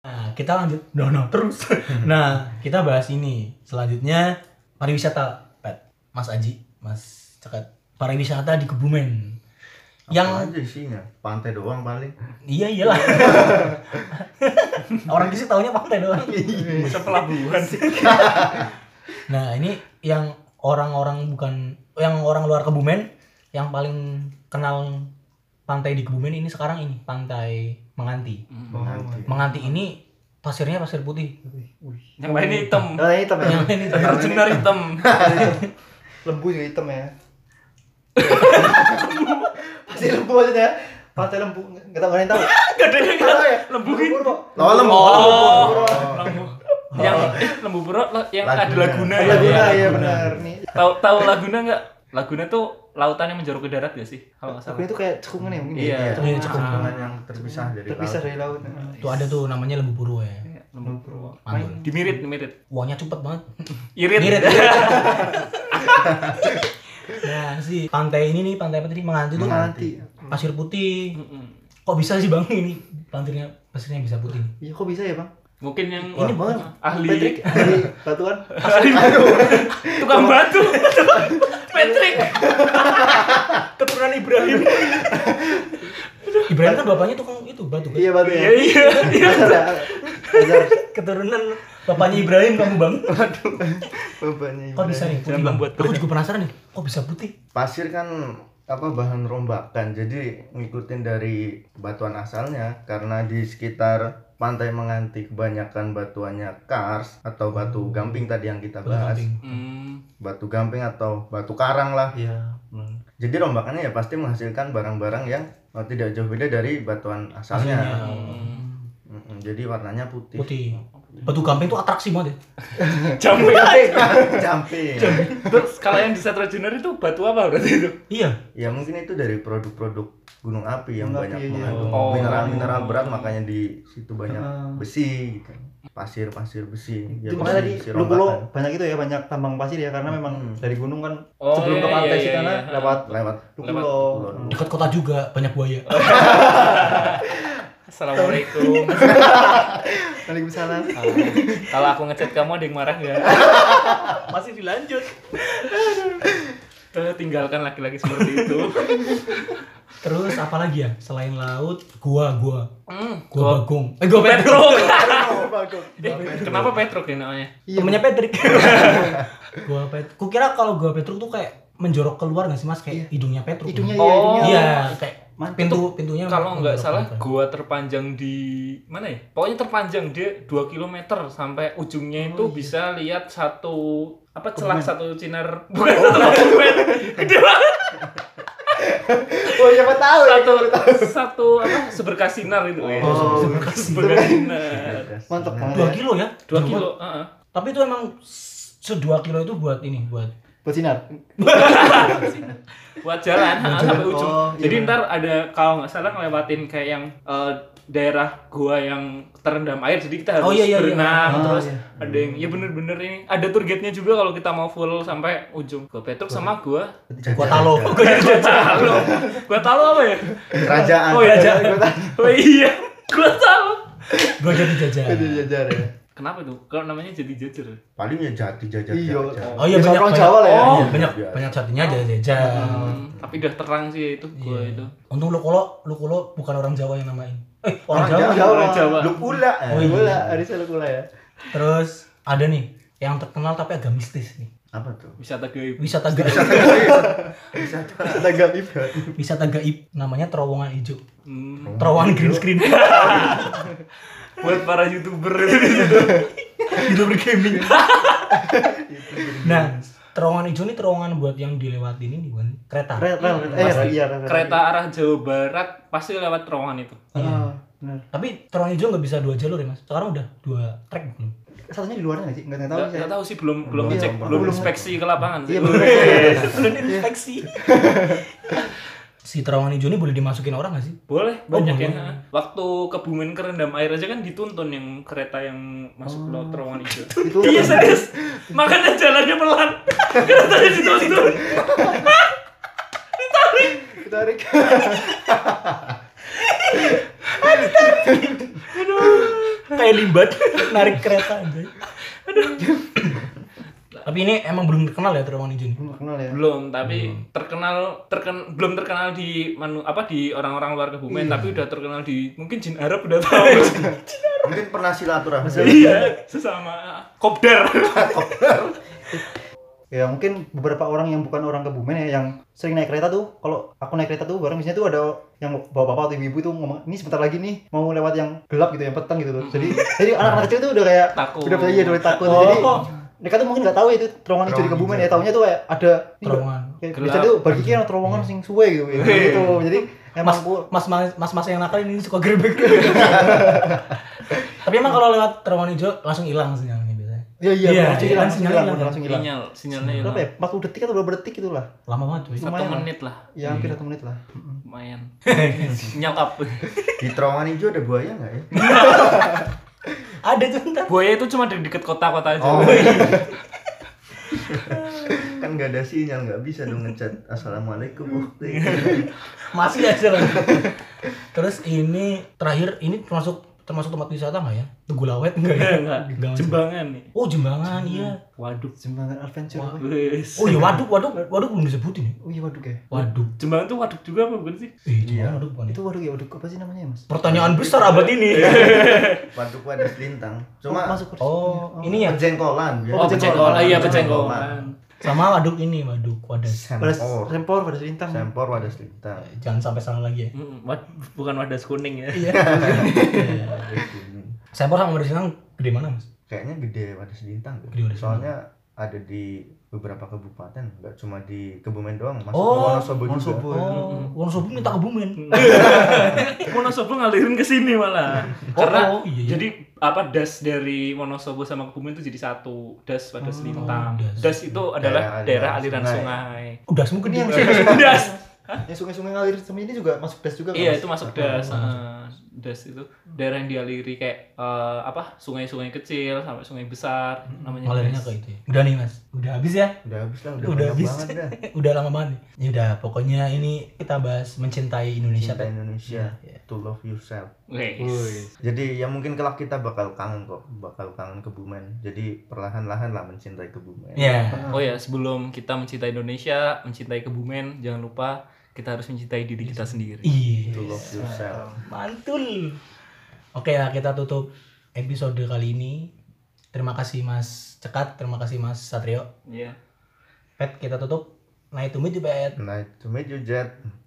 S3: nah kita lanjut no no terus
S2: Hmm.
S3: nah kita bahas ini selanjutnya pariwisata Pat Mas Aji Mas Cekat pariwisata di Kebumen
S2: Apa
S3: yang
S2: aja isinya pantai doang paling.
S3: iya iyalah orang sih taunya pantai doang
S1: Bisa pelabuhan.
S3: nah ini yang orang-orang bukan yang orang luar Kebumen yang paling kenal pantai di Kebumen ini sekarang ini pantai Menganti
S1: Hmm.
S4: Oh,
S2: Nanti.
S3: Menganti ini pasirnya pasir putih.
S4: Wih.
S1: Yang lain hitam.
S4: Oh, yang hitam ya?
S3: Yang ini tuh.
S1: Terjenar hitam.
S4: Lembu juga hitam ya? Pasti lembu aja ya? Pantai lembu, nggak tahu nggak ada yang tahu.
S1: Gak ada yang
S4: Nggak tahu ya?
S1: Lembu gitu. ini.
S4: Purwo.
S2: Oh, lembu.
S1: Oh.
S2: Lembu.
S1: Lembu. Yang eh, lembu pura yang ada
S2: Laguna.
S1: laguna
S4: Ada
S1: ya.
S4: Laguna
S1: Iya.
S4: ya benar nih.
S1: Tahu tahu laguna nggak? Laguna tuh lautan yang menjorok ke darat gak sih? Kalau nggak
S4: Aku
S1: salah.
S4: itu kayak cekungan ya mungkin. ya?
S1: Iya.
S3: Iya,
S2: Iya,
S3: cukup.
S2: cekungan yang terpisah dari
S4: Terpisah
S2: laut. Iya.
S4: dari laut.
S3: Tuh ada tuh namanya lembu purwo ya.
S1: Iya, Lembu purwo.
S3: Mantap.
S1: Dimirit, dimirit.
S3: Uangnya cepet banget.
S1: Irit.
S3: Irit. nah si pantai ini nih pantai apa tadi menganti tuh
S4: Menganti.
S3: pasir putih.
S1: Mm-mm.
S3: Kok bisa sih bang ini pasirnya pasirnya bisa putih?
S4: Iya, kok bisa ya bang?
S1: Mungkin yang
S4: Ini
S1: ini
S4: banget.
S1: ahli
S4: Patrick, ahli kan? batuan.
S1: tukang batu. Patrick.
S3: Keturunan Ibrahim. Ibrahim kan bapaknya tukang itu batu kan?
S4: Iya batu ya.
S1: Iya iya. iya.
S4: Azar ya. Azar.
S3: Keturunan bapaknya Ibrahim kamu bang.
S4: Bebannya.
S3: Kok bisa nih putih
S1: Jangan
S3: bang?
S1: membuat
S3: Aku juga penasaran nih. Kok bisa putih?
S2: Pasir kan apa bahan rombakan. Jadi ngikutin dari batuan asalnya karena di sekitar pantai menganti kebanyakan batuannya kars atau batu gamping tadi yang kita bahas.
S3: Hmm. Batu gamping.
S1: Hmm.
S2: Batu gamping atau batu karang lah.
S4: Iya. benar.
S2: Jadi rombakannya ya pasti menghasilkan barang-barang yang eh, tidak jauh beda dari batuan asalnya.
S3: Aslinya.
S2: Mm-mm, Jadi warnanya putih.
S3: Iya, Putih. Batu Gamping tuh atraksi banget ya.
S1: Jambe.
S2: Camping.
S1: Terus kalau yang di Satra Junior itu batu apa berarti itu?
S3: Iya.
S2: Ya mungkin itu dari produk-produk gunung api yang
S4: Gunung
S2: banyak
S4: api, iya.
S2: mengandung
S1: Oh.
S2: mineral-mineral berat makanya di situ banyak
S4: Ah.
S2: besi gitu. Pasir-pasir besi. Ya,
S4: itu makanya tadi
S2: besi
S4: Lukulo
S2: rombatan.
S4: banyak itu ya banyak tambang pasir ya karena memang
S2: Iya, Hmm.
S4: dari gunung kan
S1: Oh,
S4: sebelum ke
S1: iya,
S4: pantai
S1: iya,
S4: sih karena
S1: iya.
S4: dapat
S2: lewat
S4: Lukulo.
S2: Lukulo.
S4: Hmm.
S3: Dekat kota juga banyak buaya.
S1: Assalamualaikum.
S4: Waalaikumsalam.
S1: Ah, kalau aku ngechat kamu ada yang marah nggak?
S3: Masih dilanjut.
S1: Eh, tinggalkan laki-laki seperti itu.
S3: Terus apa lagi ya selain laut? Gua, gua,
S1: Hmm,
S3: gua
S1: gua-
S3: Bagong. Eh gua Patrick.
S1: Petruk.
S4: Oh,
S2: Bagus.
S1: Eh, kenapa Petruk ya namanya?
S4: Iya,
S3: Temennya Patrick. gua Petruk. Kukira kalau gua Petruk tuh kayak menjorok keluar nggak sih Mas kayak hidungnya Petruk.
S4: Hidungnya iya,
S1: Oh.
S4: hidungnya.
S3: Iya, kayak
S4: Man,
S3: pintu pintunya gitu.
S1: Kalau nggak
S3: menjorok
S1: salah, gua
S3: keluar.
S1: terpanjang di mana ya? Pokoknya terpanjang dia 2 km sampai ujungnya itu bisa lihat satu apa celah satu cinar bukan satu monumen gede banget
S4: Oh siapa tahu ya.
S1: satu satu apa seberkas sinar itu ya
S4: Oh,
S1: seberkas sinar
S4: Mantap banget.
S3: dua
S4: ya.
S3: kilo ya
S1: 2
S3: Jauh banget.
S1: kilo heeh.
S3: tapi itu emang se- sedua kilo itu buat ini buat
S4: Bersinar.
S1: buat jalan ha,
S4: jalan.
S1: sampai ujung.
S4: Oh, iya.
S1: Jadi ntar ada kalau nggak salah ngelewatin kayak yang eh, daerah gua yang terendam air, jadi kita harus
S3: Oh, iya, iya, iya.
S1: berenang
S4: Ah,
S1: terus
S4: iya.
S1: ada yang ya bener-bener ini ada tour guide-nya juga kalau kita mau full sampai ujung. Gua Petruk sama gua
S3: gua talo
S1: gua talo. Gua talo apa ya?
S2: Kerajaan.
S1: Oh iya, jalan. Oh iya, gua talo.
S3: gua jadi jajan
S4: Itu jajar ya.
S1: Kenapa tuh? Kalau namanya jadi jajar.
S2: Paling ya jati jajar
S4: Iya.
S2: jajar.
S3: Oh, iya,
S4: Biasa
S3: banyak-
S4: orang
S3: banyak.
S4: Jawa lah ya.
S1: Oh.
S3: Iya, banyak
S2: Biasa.
S3: banyak satunya aja jajan
S1: Hmm, tapi udah terang sih itu gua
S3: Iya.
S1: itu.
S3: untung lu kalau lu kalau bukan orang Jawa yang namain eh orang,
S2: Orang
S3: Jawa.
S2: Jawa.
S1: Orang Jawa.
S2: Lu pula. eh.
S3: Oh, iya.
S4: Lukula, Arisa Lukula ya.
S3: terus ada nih yang terkenal tapi agak mistis nih
S2: Apa tuh?
S1: Wisata gaib.
S3: wisata gaib
S4: Tenaga Ibra.
S3: wisata gaib namanya terowongan hijau
S1: Hmm.
S3: terowongan green screen
S1: Buat para youtuber itu.
S3: Hidup bergaming. nah, terowongan hijau ini terowongan buat yang dilewatin ini bukan kereta.
S4: Rel, rel, eh, iya, rel, rel.
S1: kereta arah Jawa Barat pasti lewat terowongan itu.
S4: Ah, benar.
S3: Tapi terowongan hijau nggak bisa dua jalur ya mas. Sekarang udah dua track belum?
S4: Satunya di luarnya nggak sih? Nggak nggak tahu
S1: Nggak
S4: sih.
S1: nggak tahu sih belum belum
S2: Belum,
S1: ngecek,
S2: belum.
S1: belum
S4: Belum.
S1: inspeksi ke lapangan sih.
S4: Iya, belum.
S3: belum inspeksi. si terowongan hijau ini boleh dimasukin orang nggak sih?
S1: Boleh
S4: Oh,
S1: banyak
S3: boleh.
S1: ya. Waktu kebumen kerendam air aja kan dituntun yang kereta yang
S4: Oh.
S1: masuk ke terowongan itu.
S4: Itu
S1: Iya serius. Makanya jalannya pelan. Keretanya dituntun.
S4: ditarik.
S3: Kayak limbat narik kereta aja. Tapi ini emang belum terkenal ya terowongan hijau ini.
S4: Belum kenal ya.
S1: Belum, tapi terkenal terken belum terkenal di manu, apa di orang-orang luar kebumen,
S4: Iya.
S1: tapi udah terkenal di mungkin jin Arab udah tahu.
S2: Mungkin pernah silaturahmi.
S1: iya, sesama kopdar.
S4: Ya mungkin beberapa orang yang bukan orang kebumen ya yang sering naik kereta tuh kalau aku naik kereta tuh bareng misalnya tuh ada yang bapak-bapak atau ibu-ibu tuh ngomong ini sebentar lagi nih mau lewat yang gelap gitu yang petang gitu jadi jadi anak-anak kecil tuh udah kayak
S1: Takut.
S4: udah iya udah takut
S3: Oh.
S4: jadi mereka tuh mungkin nggak tahu ya, itu terowongan hijau di
S2: Terowongan
S4: kebumen
S2: hijau.
S4: ya tahunya tuh kayak ada ini nggak-
S3: Terowongan.
S4: kayak
S1: Gelap.
S4: biasanya tuh bagi kira terowongan sing suwe gitu ya gitu jadi emang
S3: Mas,
S4: aku
S3: mas, mas, mas, mas yang nakal ini suka grebek. Tapi emang kalau lewat terowongan hijau langsung hilang sinyalnya biasanya.
S4: iya iya
S3: Iya,
S4: langsung
S3: iya, langsung
S4: hilang langsung hilang
S3: hilang.
S4: udah langsung hilang
S1: Sinyal, sinyalnya hilang.
S4: berapa ya 40 detik atau berapa detik itulah
S3: Lama banget cuy.
S1: Satu
S4: Lumayan lah.
S1: menit lah.
S4: ya hampir satu menit lah
S1: lumayan nyal up
S2: Di terowongan hijau ada buaya nggak ya?
S3: Ada tuh ntar.
S1: buaya itu cuma di dekat kota-kota aja
S2: Oh. kan nggak ada sinyal nggak bisa dong ngechat assalamualaikum waktu itu.
S3: Masih aja loh. Terus ini terakhir ini termasuk termasuk tempat wisata nggak ya? Tegulawet nggak ya?
S1: Enggak,
S3: Enggak,
S1: jembangan nih
S3: Oh jembangan iya.
S1: waduh
S4: jembangan adventure apa ya?
S1: Wes.
S3: Oh iya waduk waduk waduk belum disebutin ya.
S4: oh iya waduk ya
S3: Waduk.
S1: jembangan tuh waduk juga apa bukan sih
S3: Eh, iya. waduk bukan
S4: itu
S3: itu.
S4: waduk ya waduk apa sih namanya ya mas
S3: Pertanyaan besar abad ini.
S2: Waduk Wadas Lintang.
S4: Oh,
S2: Cuma
S4: masuk kursi.
S3: Oh ini ya
S2: pejengkolan.
S1: oh
S4: pejengkolan.
S1: pecengkolan iya
S2: Pejengkolan.
S1: pecengkolan
S3: sama waduk ini waduk wadas.
S4: pada
S2: Sempor.
S4: sempor pada selintang
S2: Sempor Wadas Lintang.
S3: Jangan sampai salah lagi ya.
S1: Mm, wad- bukan wadas kuning ya
S3: Iya. Sempor sama Wadas Silang gede mana mas?
S2: Kayaknya gede Wadas Lintang.
S3: Gede Wadas Lintang.
S2: Soalnya ada di beberapa kabupaten nggak cuma di Kebumen doang masuk
S3: Oh,
S2: ke Wonosobo juga
S4: Wonosobo.
S3: Oh, Wonosobo minta ke Bumen.
S1: Hmm. Wonosobo ngalirin ke sini malah.
S3: Oh,
S1: Karena
S3: oh, iya. iya.
S1: jadi apa das dari Wonosobo sama Kebumen itu jadi satu das pada
S4: Oh,
S1: Selintang.
S3: das.
S1: Das itu adalah daerah aliran sungai.
S3: udah mungkin
S4: Ini
S3: dia.
S4: yang
S1: das.
S4: yang sungai-sungai ngalir sama ini juga masuk das juga kan,
S1: Iya
S4: Mas?
S1: itu masuk das. eh, das itu daerah yang dialiri kayak eh, apa sungai-sungai kecil sampai sungai besar namanya.
S3: Ngalirnya
S1: das.
S3: ke itu. ya. Udah nih, Mas. Udah habis ya?
S2: udah habis lah udah,
S3: Udah
S2: banyak
S3: habis.
S2: banget dah
S3: Eh, Udah lama banget. nih. Ya udah, pokoknya ini kita bahas mencintai Indonesia.
S2: cinta Indonesia
S3: Iya.
S2: to love yourself
S1: Wes.
S4: Woi.
S2: jadi ya mungkin kelak kita bakal kangen kok bakal kangen Kebumen jadi perlahan-lahan lah mencintai Kebumen
S3: Ya.
S4: Ah.
S1: Oh ya sebelum kita mencintai Indonesia, mencintai Kebumen, jangan lupa kita harus mencintai diri kita sendiri.
S3: Iya.
S2: to love yourself
S3: Mantul. Oke ya, kita tutup episode kali ini. Terima kasih Mas Cekat, terima kasih Mas Satrio.
S1: Iya.
S3: Nah, Pet, kita tutup. Night to meet you, Pet.
S2: night Nah, to meet you Jet